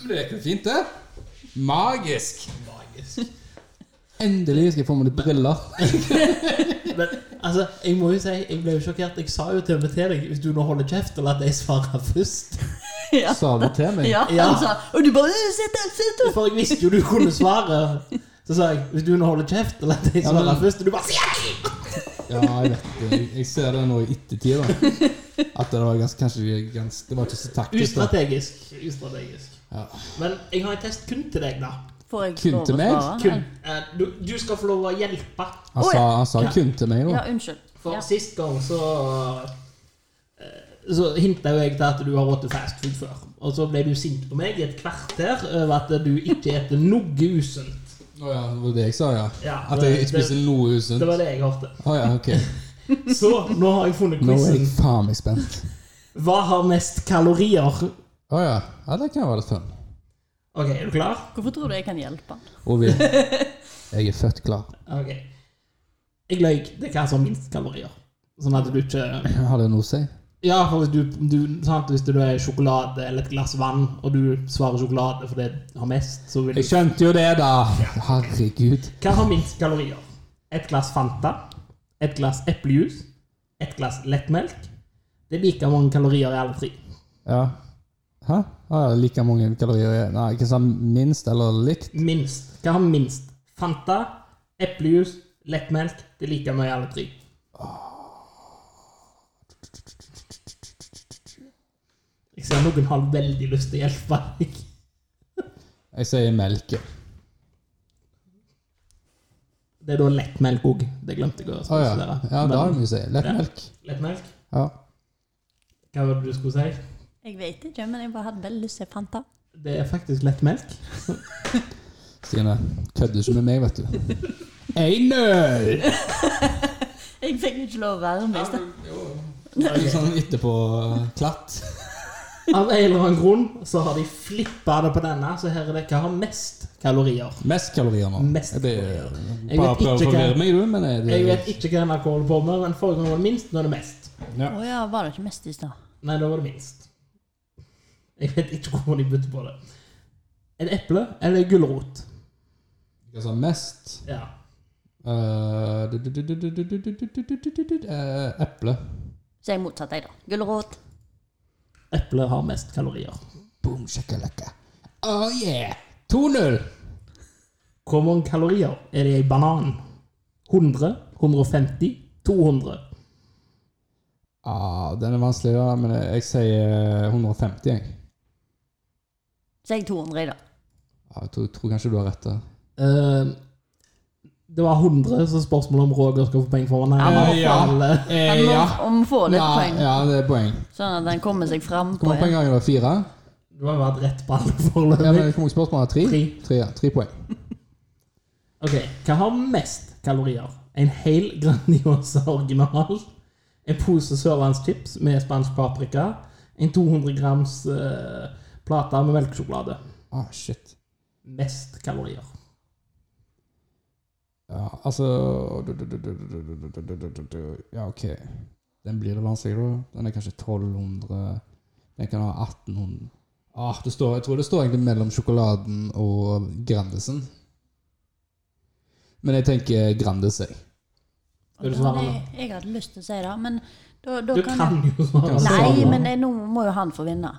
Men det gikk jo fint, det. Magisk. Magisk. Endelig skal jeg få meg litt briller. Men altså, jeg må jo si, jeg ble jo sjokkert. Jeg sa jo til og med til deg, hvis du nå holder kjeft og lar deg svare først Ja. Sa du til meg? Ja, Ja. altså. Og du bare «Øh, Sitt der, sitt der. For jeg visste jo du kunne svare. Så sa jeg hvis du nå holder kjeft og lar deg Ja, men- svare først, og du bare sier Ja, jeg vet det. Jeg- Jeg ser det nå i ettertid. da. At det var ganske, kanskje ganske, Det var ikke så taktisk. da. Ustrategisk. Ustrategisk. Ja. Men jeg har en test kun til deg, da. Får jeg Kun lov til å meg? svare? Kun. Eh, Du, du skal få lov å hjelpe. Han Å, sa, han sa kun til meg, Ja, da. unnskyld. For Ja. sist gang så eh, så hinta jo jeg til at du har spist fast food før. Og så ble du sint på meg i et kvarter over at du ikke spiser noe usunt. Å ja, det var det jeg sa, ja. Ja, At jeg det- ikke spiser noe usunt. Det var Å det jeg hørte. ja, ok. Så nå har jeg funnet Nå er quizen. jeg faen meg spent. Hva har mest kalorier? Å ja. ja. Det kan være litt fun. OK, er du klar? Hvorfor tror du jeg kan hjelpe? Ovi, jeg er født klar. Ok. Jeg løy. Det er hva som har minst kalorier. Sånn at du ikke Har det noe å si? Ja, for hvis du, du sant? Hvis du er sjokolade eller et glass vann, og du svarer sjokolade for det har mest, så vil Jeg du skjønte jo det, da! Herregud. Hva har minst kalorier? Et glass Fanta, et glass eplejus, et glass lettmelk. Det er like mange kalorier i alle tre. Ja. Hæ? Har jeg like mange kalorier i Nei, hva sa han? minst eller likt? Minst. Hva har minst? Fanta, eplejus, lettmelk. Det er like mye i alle tre. Jeg ser noen har veldig lyst til å hjelpe deg. Jeg sier melk. ja. Det er da lettmelk òg. Det glemte jeg å Å ja. spesifisere. ja, da Men må vi si lettmelk. Lettmelk? Ja. Hva var det du skulle si? Jeg vet ikke, men jeg bare hadde veldig lyst til Fanta. Det er faktisk lettmelk. Stine, kødder ikke med meg, vet du. Jeg nød! Jeg fikk ikke lov å være med i sted. Litt sånn etterpå-klatt. Av en eller annen grunn så har de flippa det på denne, så her er det hva har mest kalorier. Mest kalorier nå. Mest Jeg blir- kalorier. Jeg Bare vet prøv å ikke hva- forvirre meg, du, men eh, jeg, Jeg vet ikke hva NRK holder på med, men forrige gang var det minst, nå er det mest. Å ja, var det ikke mest i stad? Nei, da var det minst. Jeg vet ikke hvorfor de bytter på det. Et eple eller gulrot? Hva sa mest? Ja. Eh, du- du- du- du- du- du- du- du- du- du- du- du- du- eh, Eple. Så jeg motsatte jeg, da. Gulrot. Eple har mest kalorier. Boom, shakalaka. Oh yeah! 2-0! Hvor mange kalorier er det i banan? 100, 150, 200? Ah, den er vanskelig, da, men jeg sier 150, jeg. Så jeg 200 i dag. Ja, Ah, jeg tror, tror kanskje du har rett der. Eh, det var 100, så spørsmålet om Roger skal få poeng for henne. Ja, Nei, Eh, ja. alle. Han må, må få litt Nei, poeng, ja, det er poeng. sånn at han kommer seg fram. Hvor på mange poeng en. har jeg? da? Fire? Du har vært rett på alle Ja, men foreløpig. Hvor mange spørsmål har jeg? Tre? Tre. Tre, ja. Tre poeng. Ok, hva har mest kalorier? En hel Grandiosa original, en pose sørlandschips med spansk paprika, en 200 grams eh, plate med melkesjokolade. Ah, shit. Mest kalorier. Ja, altså Ja, OK. Den blir det vanskelig, da. Den er kanskje 1200 Den kan ha 1800 ah, det står, Jeg tror det står egentlig mellom sjokoladen og Grandisen. Men jeg tenker Grandis, jeg. Og Vil du da svare hadde nå? jeg, jeg hadde lyst til å si det, men da, da Du kan kan jo svare. Kan Nei, svare. men jeg, nå må jo han få vinne.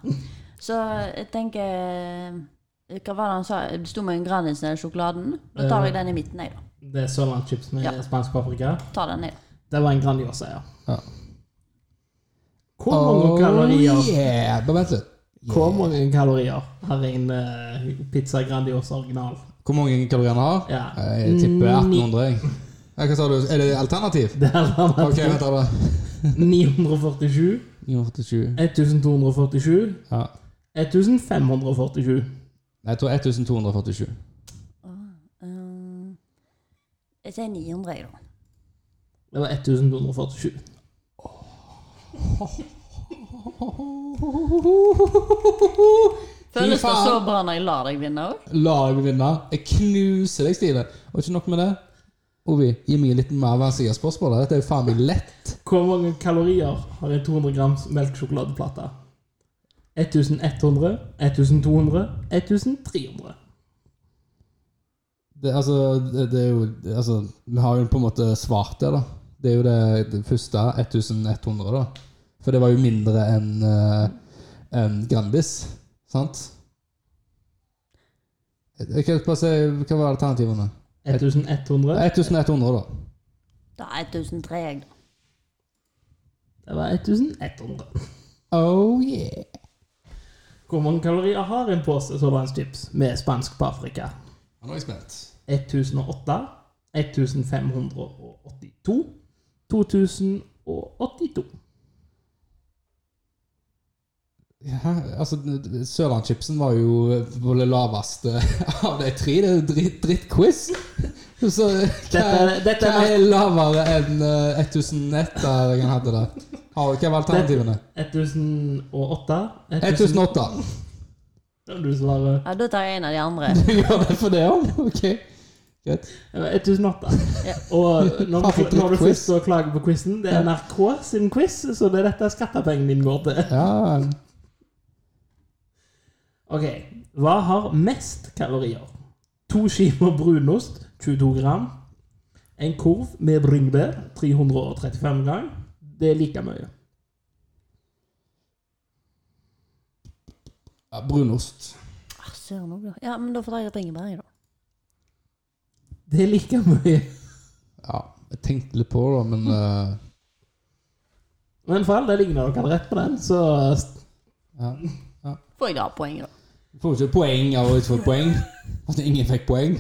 Så jeg tenker eh, Hva var det han sa? Det sto med en Grandisen eller sjokoladen. Da tar jeg den i midten, jeg, da. Det er sørlandschips med Ja. spansk paprika. Tar den, jeg. da. Det var en Grandiosa, ja. Ja. Hvor Oh, mange kalorier yeah! Bare vent litt. Hvor mange kalorier har en eh, pizza Grandiosa original? Hvor mange kalorier han har? Ja. Eh, Jeg tipper 1800. jeg. Ja, Hva sa du? Er det alternativ? Det er Ok, alternativ vent da. da. 947, 947. 1247, Ja. 1547. Nei, Jeg tror 1247. Eh, jeg sier 900, jeg, da. Det var 1247. Føles det faen. så bra når jeg lar deg vinne òg? La deg vinne. Jeg knuser deg, Stine. Og ikke nok med det. Ovi, gi meg litt mer hver side av spørsmålet. Dette er jo faen meg lett. Hvor mange kalorier har en 200 grams melkesjokoladeplate? 1100, 1200, 1300. Det, altså, det, det er jo altså, Vi har jo på en måte svart det, da. Det er jo det, det første. 1100, da. For det var jo mindre enn eh, enn Grandis. Sant? Jeg kan bare si, Hva var alternativene? 1100. 1100, da. Da er 1003, jeg, da. Det var 1100. Oh yeah. Hvor mange kalorier har en pose sodavannschips med spansk på Afrika? Nå er jeg spent. 1008, 1582, 2082. Hæ? Altså, Sørlandschipsen var jo på det laveste av de tre. Det er jo dritt, drittquiz. Så eh, hva, Dette- dette hva er- er lavere enn eh, 1001 der jeg hadde det? Ha, Hva var alternativene? 1008 1000 1008. Du svarer Ja, da tar jeg en av de andre. Du gjør det for det òg? Ok. Greit. det var 1008. Ja. Og når Faen, for du, når du drittquiz. først så klager på quizen, det er NRK sin quiz, så det er dette skattepengene dine går til. Ja Ok, hva har mest kalorier? To skiver brunost, 22 gram. En kurv med bringebær, 335 gram. Det er like mye. Ja, Brunost. Ah, Søren òg, da. Ja, men da får jeg et bringebær, jeg, da. Det er like mye. Ja, jeg tenkte litt på det, da, men eh, Men for all del, ingen av dere hadde rett på den, så ja. Får jeg da poenget, da? Du får jo ikke poeng av å ikke få poeng. At ingen fikk poeng.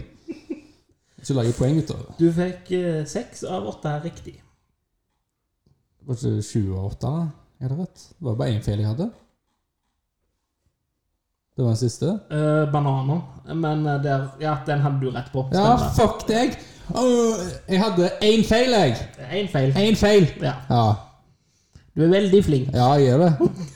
Ikke lage poeng ut av det. du fikk eh, seks av åtte riktig. Var det ikke 28, da? Er det rett? Det var bare én feil jeg hadde. Det var den siste? Eh, bananer. Men eh, der, ja, den hadde du rett på. Ja, fuck deg! Åh, jeg hadde én feil, jeg! Én feil. Én feil! Ja. Ja, Du er veldig flink. ja jeg gjør det.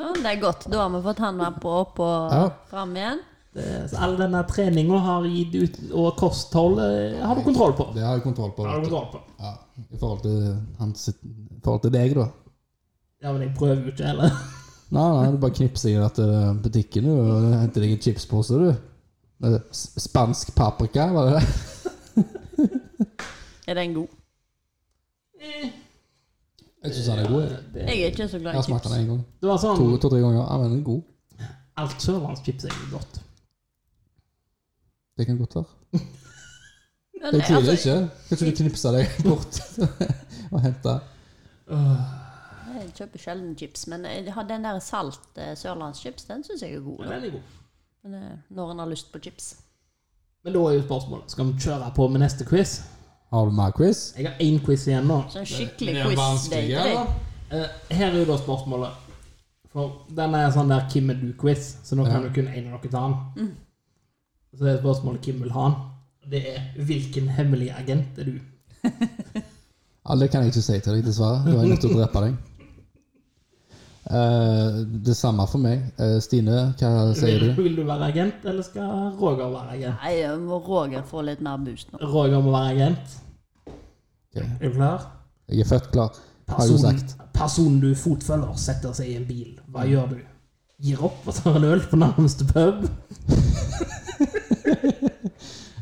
Ja, det er godt. Da har vi fått han med på opp og Ja. fram igjen. Eh, så All denne treninga har gitt ut, og kosthold eh, har du kontroll på. Det har jeg kontroll på. Har Vet du du. kontroll på. Ja, I forhold til, hans, i forhold til deg, da. Ja, men jeg prøver jo ikke heller. Nei, nei, du bare knipser i dette butikken du, og henter deg en chipspose, du. Eh, s- Spansk paprika, var det det? Er den god? Jeg syns han er god. jeg. Det, Jeg er ikke så Jeg glad i har smakt chips. den én gang. det var sånn To- To-tre ganger. Ja, men den er god. Alt sørlandschips er jo godt. Det kan godt være. Men Jeg jeg- tviler altså, ikke. Kanskje du knipser deg bort og henter Jeg kjøper sjelden chips, men jeg har den der salt eh, sørlandschips, den syns jeg er god. Men Da. den er god. Men, eh, når en har lyst på chips. Men da er jo spørsmålet Skal vi kjøre på med neste quiz? Har du mer quiz? Jeg har én quiz igjen nå. Sånn skikkelig quiz. Det er ikke det. Eh, her er jo da spørsmålet. For den er en sånn der Kim er du-quiz, så nå kan Ja. jo kun én av dere ta den. Så det er spørsmålet Kim vil ha den. Det er hvilken hemmelig agent er du? Ja, det kan jeg ikke si til deg, dessverre. Du er jeg nødt til å drepe deg. Eh, det samme for meg. Eh, Stine, hva sier Vil, du? vil du være agent, eller skal Roger være agent? Nei, jeg må Roger få litt mer boost nå. Roger må være agent. Ok. Er du klar? Jeg er født klar, har jeg jo sagt. personen du fotfølger, setter seg i en bil. Hva gjør du? Gir opp og tar en øl på nærmeste pub?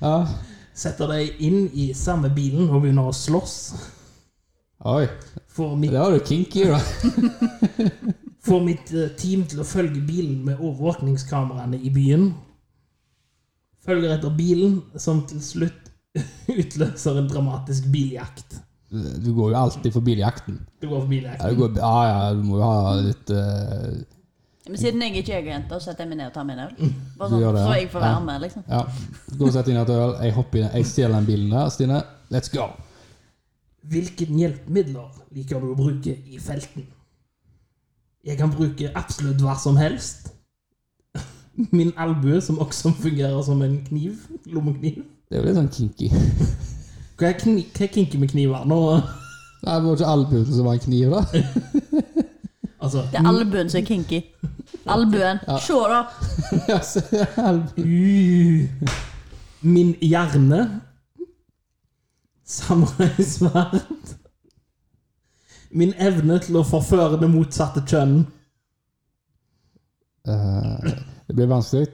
Ja. Setter deg inn i samme bilen og begynner å slåss? Oi, Får mitt, det var jo kinky, da. får mitt eh, team til å følge bilen med overvåkningskameraene i byen? Følger etter bilen, som til slutt utløser en dramatisk biljakt. Du går jo alltid forbi jakten. Du går for biljakt. Ja, du, går, ja, ja, du må jo ha litt eh, Men siden jeg ikke er agent, da setter jeg meg ned og tar meg en øl. Bare Du sånn, gjør det, så ja. jeg får være Ja. med, liksom. Ja. Gå og sett inn et øl. Jeg hopper inn. Jeg stjeler den bilen der. Stine, let's go! Hvilken hjelpemidler liker du å bruke i felten? Jeg kan bruke absolutt hva som helst. Min albue, som også fungerer som en kniv. Lommekniv. Det er jo litt sånn kinky. Hva er, kni hva er kinky med kniver? Nå, Nei, Det var ikke albuen som var en kniv, da. altså, Det er albuen som er kinky. Albuen. Se, da! Ja, se, albuen. uh, Min hjerne. Samuraisverd. Min evne til å forføre det motsatte kjønn. Eh, det blir vanskelig.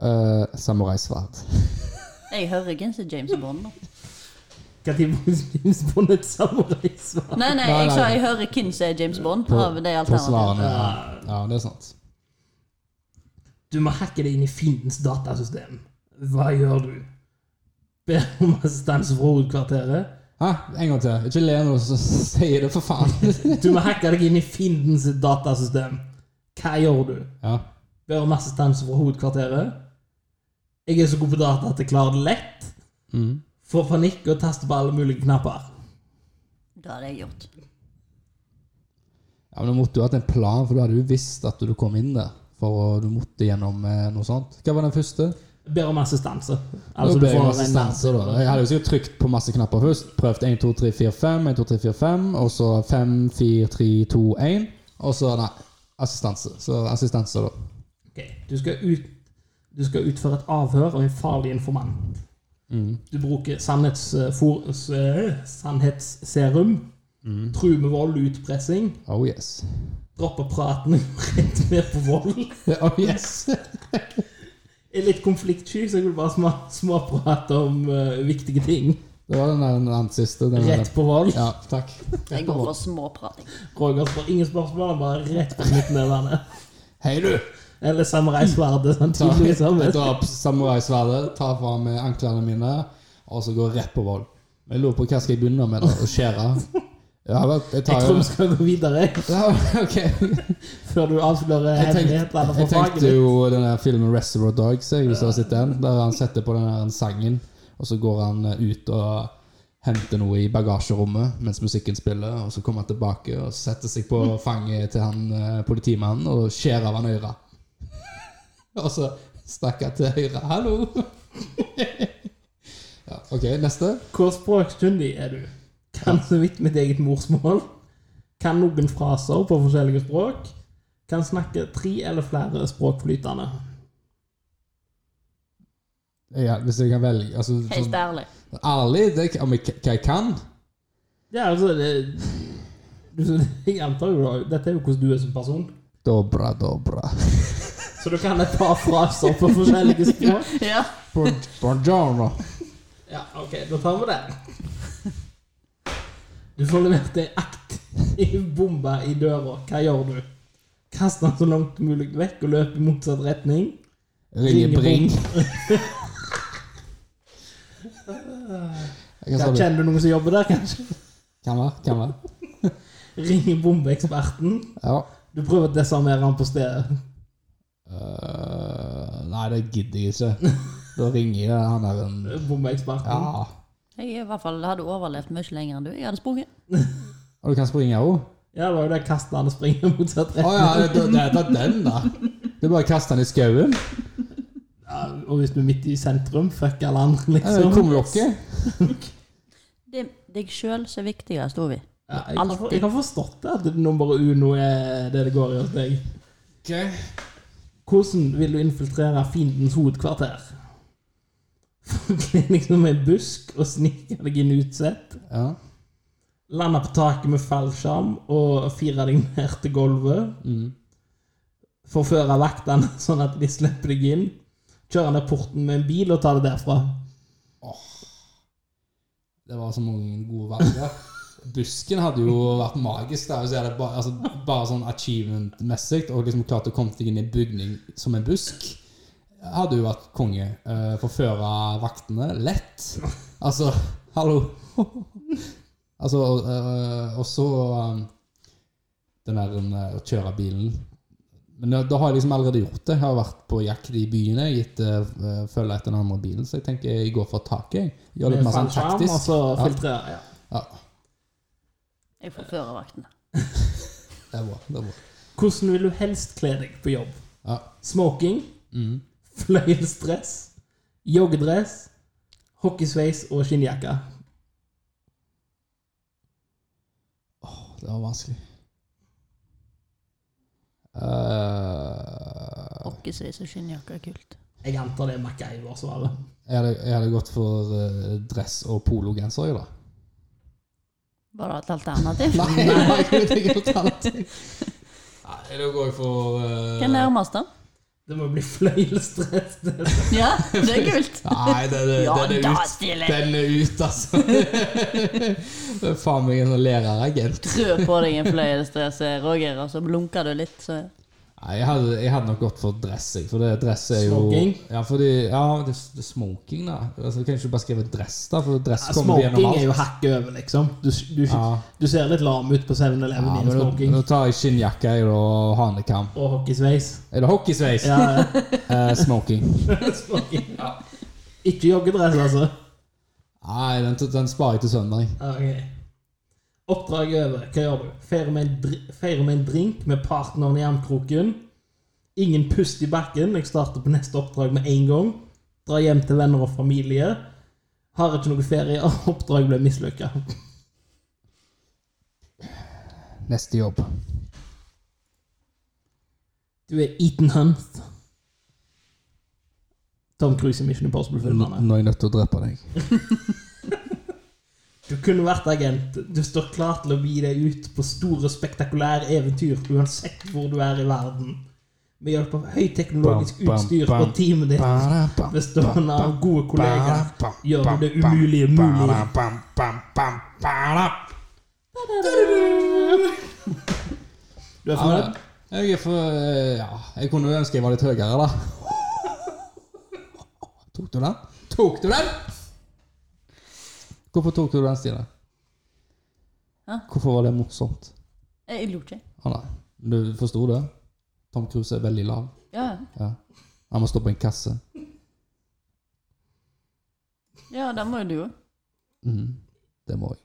Uh, Samuraisverd. Jeg hører ikke en som James Bond. nå. Når brukes på et samuraisverd? Nei, nei, Nei, jeg nei. sa jeg hører hvem som er James Bond. Av de På alternativene. svarene. Ja. ja, det er sant. Du må hacke deg inn i fiendens datasystem. Hva gjør du? Ber om assistans fra hovedkvarteret. Hæ? En gang til. Ikke le når du sier det, for faen. Du må hacke deg inn i fiendens datasystem. Hva gjør du? Ja. Ber om assistans fra hovedkvarteret. Jeg er så god på data at jeg klarer det lett. Mhm. Får panikk og taster på alle mulige knapper. Det hadde jeg gjort. Ja, men Da måtte du hatt en plan, for du hadde jo visst at du kom inn der. For å- du måtte gjennom eh, noe sånt. Hva var den første? Ber om assistanse. Altså, du ble jeg får masse en- stanser, da. Jeg hadde jo sikkert trykt på masse knapper først. Prøvd 1, 2, 3, 4, 5, 1, 2, 3, 4, 5, og så 5, 4, 3, 2, 1. Og så, nei, assistanse. Så assistanse, da. Ok, Du skal, ut, du skal utføre et avhør av en farlig informant. Mm. Du bruker sannhets, eh, for, s- eh, sannhetsserum, Mm. truer med vold og utpressing, Oh yes. dropper praten og rett med på vold. Oh yes. Er litt konfliktsky, så jeg vil bare små, småprate om eh, viktige ting. Det var den, der- den andre siste. Den der- Rett på vold. Ja, takk. Jeg går for småprating. Roger spør ingen spørsmål, han bare rett på knyttnevene. Hei, du! Eller samuraisverdet, sånn Ta, tidlig jeg sammen. tar opp samuraisverdet, tar fra meg anklene mine, og så går jeg rett på vold. Men Jeg lurer på hva skal jeg begynne med, da? Å skjære? Ja, vel, jeg Jeg tar tror jo vi skal gå videre ja, ok. før du avslører Jeg tenkte, hemmelighetene jeg for faget. tenkte jo den der filmen Reservoir Dogs, jeg, hvis du har sett den, der han setter på den der sangen, og så går han eh, ut og henter noe i bagasjerommet mens musikken spiller, og så kommer han tilbake og setter seg på fanget til han eh, politimannen og skjærer av han øret. Og så stakk han til høyre. Hallo! ja, OK, neste. Hvor språkkyndig er du? Kan så vidt mitt eget morsmål. Kan noen fraser på forskjellige språk. Kan snakke tre eller flere språk flytende. Ja, hvis jeg kan velge altså, Helt sånn, ærlig. Ærlig, det, er om jeg, hva jeg kan? Ja, altså det, du, Jeg antar jo da Dette er jo hvordan du er som person. Dobra, dobra. Så du kan et par fraser på forskjellige språk. Ja. Buon- Buongiorno. Ja, OK, da tar vi det. Du får levert ei aktiv bombe i døra. Hva gjør du? Kast den så langt mulig vekk og løp i motsatt retning. Ringe Bring. Jeg Ja, kan sa det. kjenner du noen som jobber der, kanskje? Kan være, kan være. Ring bombeeksperten. Ja. Du prøver å desarmere han på stedet. Øh, nei, det gidder jeg ikke. Da ringer jeg han der en Ja. Bombeeksperten. Jeg i hvert fall hadde overlevd mye lenger enn du. Jeg hadde sprunget. Og du kan springe òg? Ja, det var jo det kastet han og springer motsatt Å rett. ja, det, det, det, det er den, da. Du bare kaster den i skauen? Ja, og hvis du er midt i sentrum, fuck alle andre, Ja, det liksom. Kommer dere? Det er deg sjøl som er viktigst, sto vi. Ja, jeg, har, jeg har forstått det, at nummer uno er det det går i hos deg. Okay. Hvordan vil du infiltrere fiendens hovedkvarter? Forkle deg som en busk og snike deg inn utsett. Ja. Lande på taket med fallskjerm og fire deg ned til gulvet. Mm. forføre vaktene sånn at de slipper deg inn. Kjøre ned porten med en bil og ta det derfra. Det var så mange gode valg der. Busken hadde jo vært magisk. der, så er det bare, altså, bare sånn achievement-messig. Og liksom klart å komme deg inn i en bygning som en busk. Hadde jo vært konge. Eh, Forføre vaktene lett. Altså, hallo! Altså, um, eh, og så eh, den der eh, å kjøre bilen Men da, da har jeg liksom allerede gjort det. Jeg har vært på jakt i byene, gitt uh, følge etter den andre bilen, så jeg tenker jeg går for taket. jeg. Gjør litt mer sånn taktisk. Og så Ja. filtrere. Ja. Ja, Jeg får førervaktene. det er bra. det er bra. Hvordan vil du helst kle deg på jobb? Ja. Smoking, Mm. fløyelsdress, joggedress, hockeysveis og skinnjakke. Det var vanskelig. Eh, Rockesveis og skinnjakke er kult. Jeg antar det er MacGyver-svaret. jeg, hadde, jeg hadde gått for eh, dress og pologenser, jeg, da. Var det et alternativ? Nei, nei, jeg vet ikke noe annet. Nei, da går jeg for eh, Hva er nærmest, da? Det må bli fløyelsdress. Det er Ja, det er kult. Nei, den er, Ja, den er da, ut. stilig. Den er ut, altså. Det er faen meg en sånn læreragent. Trø på deg en fløyelsdress, Roger, og så blunker du litt, så Nei, jeg hadde, jeg hadde nok gått for dress, jeg, for det dress er jo Smoking? Ja, fordi, ja det, det er smoking, da. Altså, kan ikke du bare skrive dress, da? For dress kommer du Smoking gjennom er alt. jo hakket over, liksom. Du, du, Ja. du ser litt lam ut på 7-Eleven Ja, i en men nå, smoking nå tar jeg skinnjakka jeg, da, og hanekam. og hockeysveis. Er det hockeysveis? Ja, ja. Eh, smoking. smoking. Ikke joggedress, altså. Nei, den, den sparer jeg til søndag. Ja, ok. Oppdrag over. Hva gjør du? Feirer med, en dri- feirer med en drink med partneren i armkroken. Ingen pust i bakken. Jeg starter på neste oppdrag med en gang. Drar hjem til venner og familie. Har ikke noe ferie. Oppdrag ble mislykka. Neste jobb. Du er Eaton Hunt. Tom Cruise i Mission Impossible-filmene. Nå er jeg nødt til å drepe deg. Du kunne vært agent. Du står klar til å gi deg ut på store, spektakulære eventyr uansett hvor du er i verden. Med hjelp av høyteknologisk Bam, bam, utstyr bam. og teamet ditt bestående av gode kollegaer gjør du det umulige mulig. Du er Ja, fornøyd? men jeg er for Ja, jeg kunne jo ønske jeg var litt høyere, da. Tok du den? Tok du den? Hvorfor tok du den, Stine? Hæ? Hvorfor var det morsomt? Eh, Jeg lo ikke. Å nei, du forsto det? Tom Cruise er veldig lav. Ja, ja. Ja. Han må stå på en kasse. ja, den må jo du òg. Mhm. Det må jeg.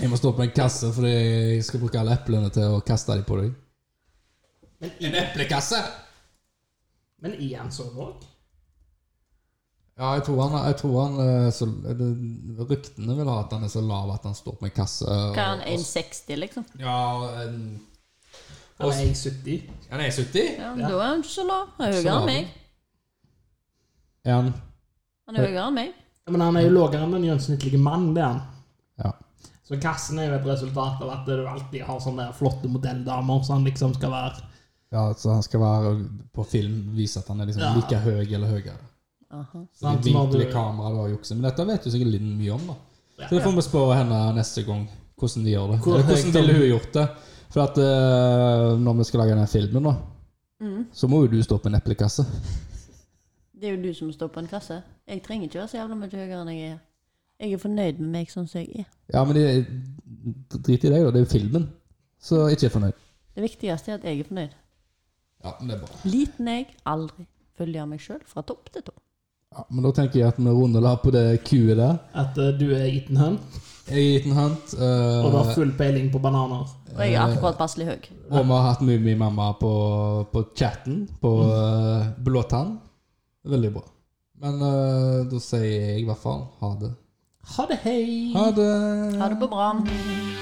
Jeg må stå på en kasse fordi jeg skal bruke alle eplene til å kaste dem på deg. Men, En i- eplekasse? men i en sånn òg? Ja, jeg tror han, jeg tror han eh, så, det- Ryktene vil ha at han er så lav at han står på en kasse. og- Hva er han, og- 1,60, liksom? Ja, en, Eller er jeg 70? han er 70? Ja, Da er han ikke så lav. Han er Så høyere lav. enn meg. Er han? Han er høyere enn meg. Ja, Men han er jo lavere enn den gjennomsnittlige mann, det er han. Ja. Så kassen er jo et resultat av at du alltid har sånne der flotte modelldamer som liksom skal være ja, så han skal være på film vise at han er liksom Ja. like høy eller høyere. Aha. Så de Sant, som vinkler hadde- kameraet og jukser. Men dette vet du sikkert litt mye om, da. Så Ja. det får vi spørre henne neste gang, hvordan de gjør det. Hvor Eller høyt hvordan om- ville hun gjort det? For at eh, når vi skal lage den filmen, da, Mm. Mhm. så må jo du stå på en eplekasse. Det er jo du som står på en kasse. Jeg trenger ikke være så jævla mye høyere enn jeg er. Jeg er fornøyd med meg sånn som jeg er. Ja, men det, drit i deg, da. Det er jo filmen. Så ikke fornøyd. Det viktigste er at jeg er fornøyd. Ja, men det er bra. Liten jeg, aldri følger meg sjøl fra topp til topp. Ja, men da tenker jeg at vi runder av på det kuet der. At eh, du er Eaton Hunt, Jeg er Ethan Hunt, eh, og du har full peiling på bananer. Og jeg er akkurat passelig høy. og vi har hatt Mummimamma på, på chatten på Mm. eh, Blåtann. Veldig bra. Men eh, da sier jeg i hvert fall ha det. Ha det, hei! Ha det. Ha det på bra.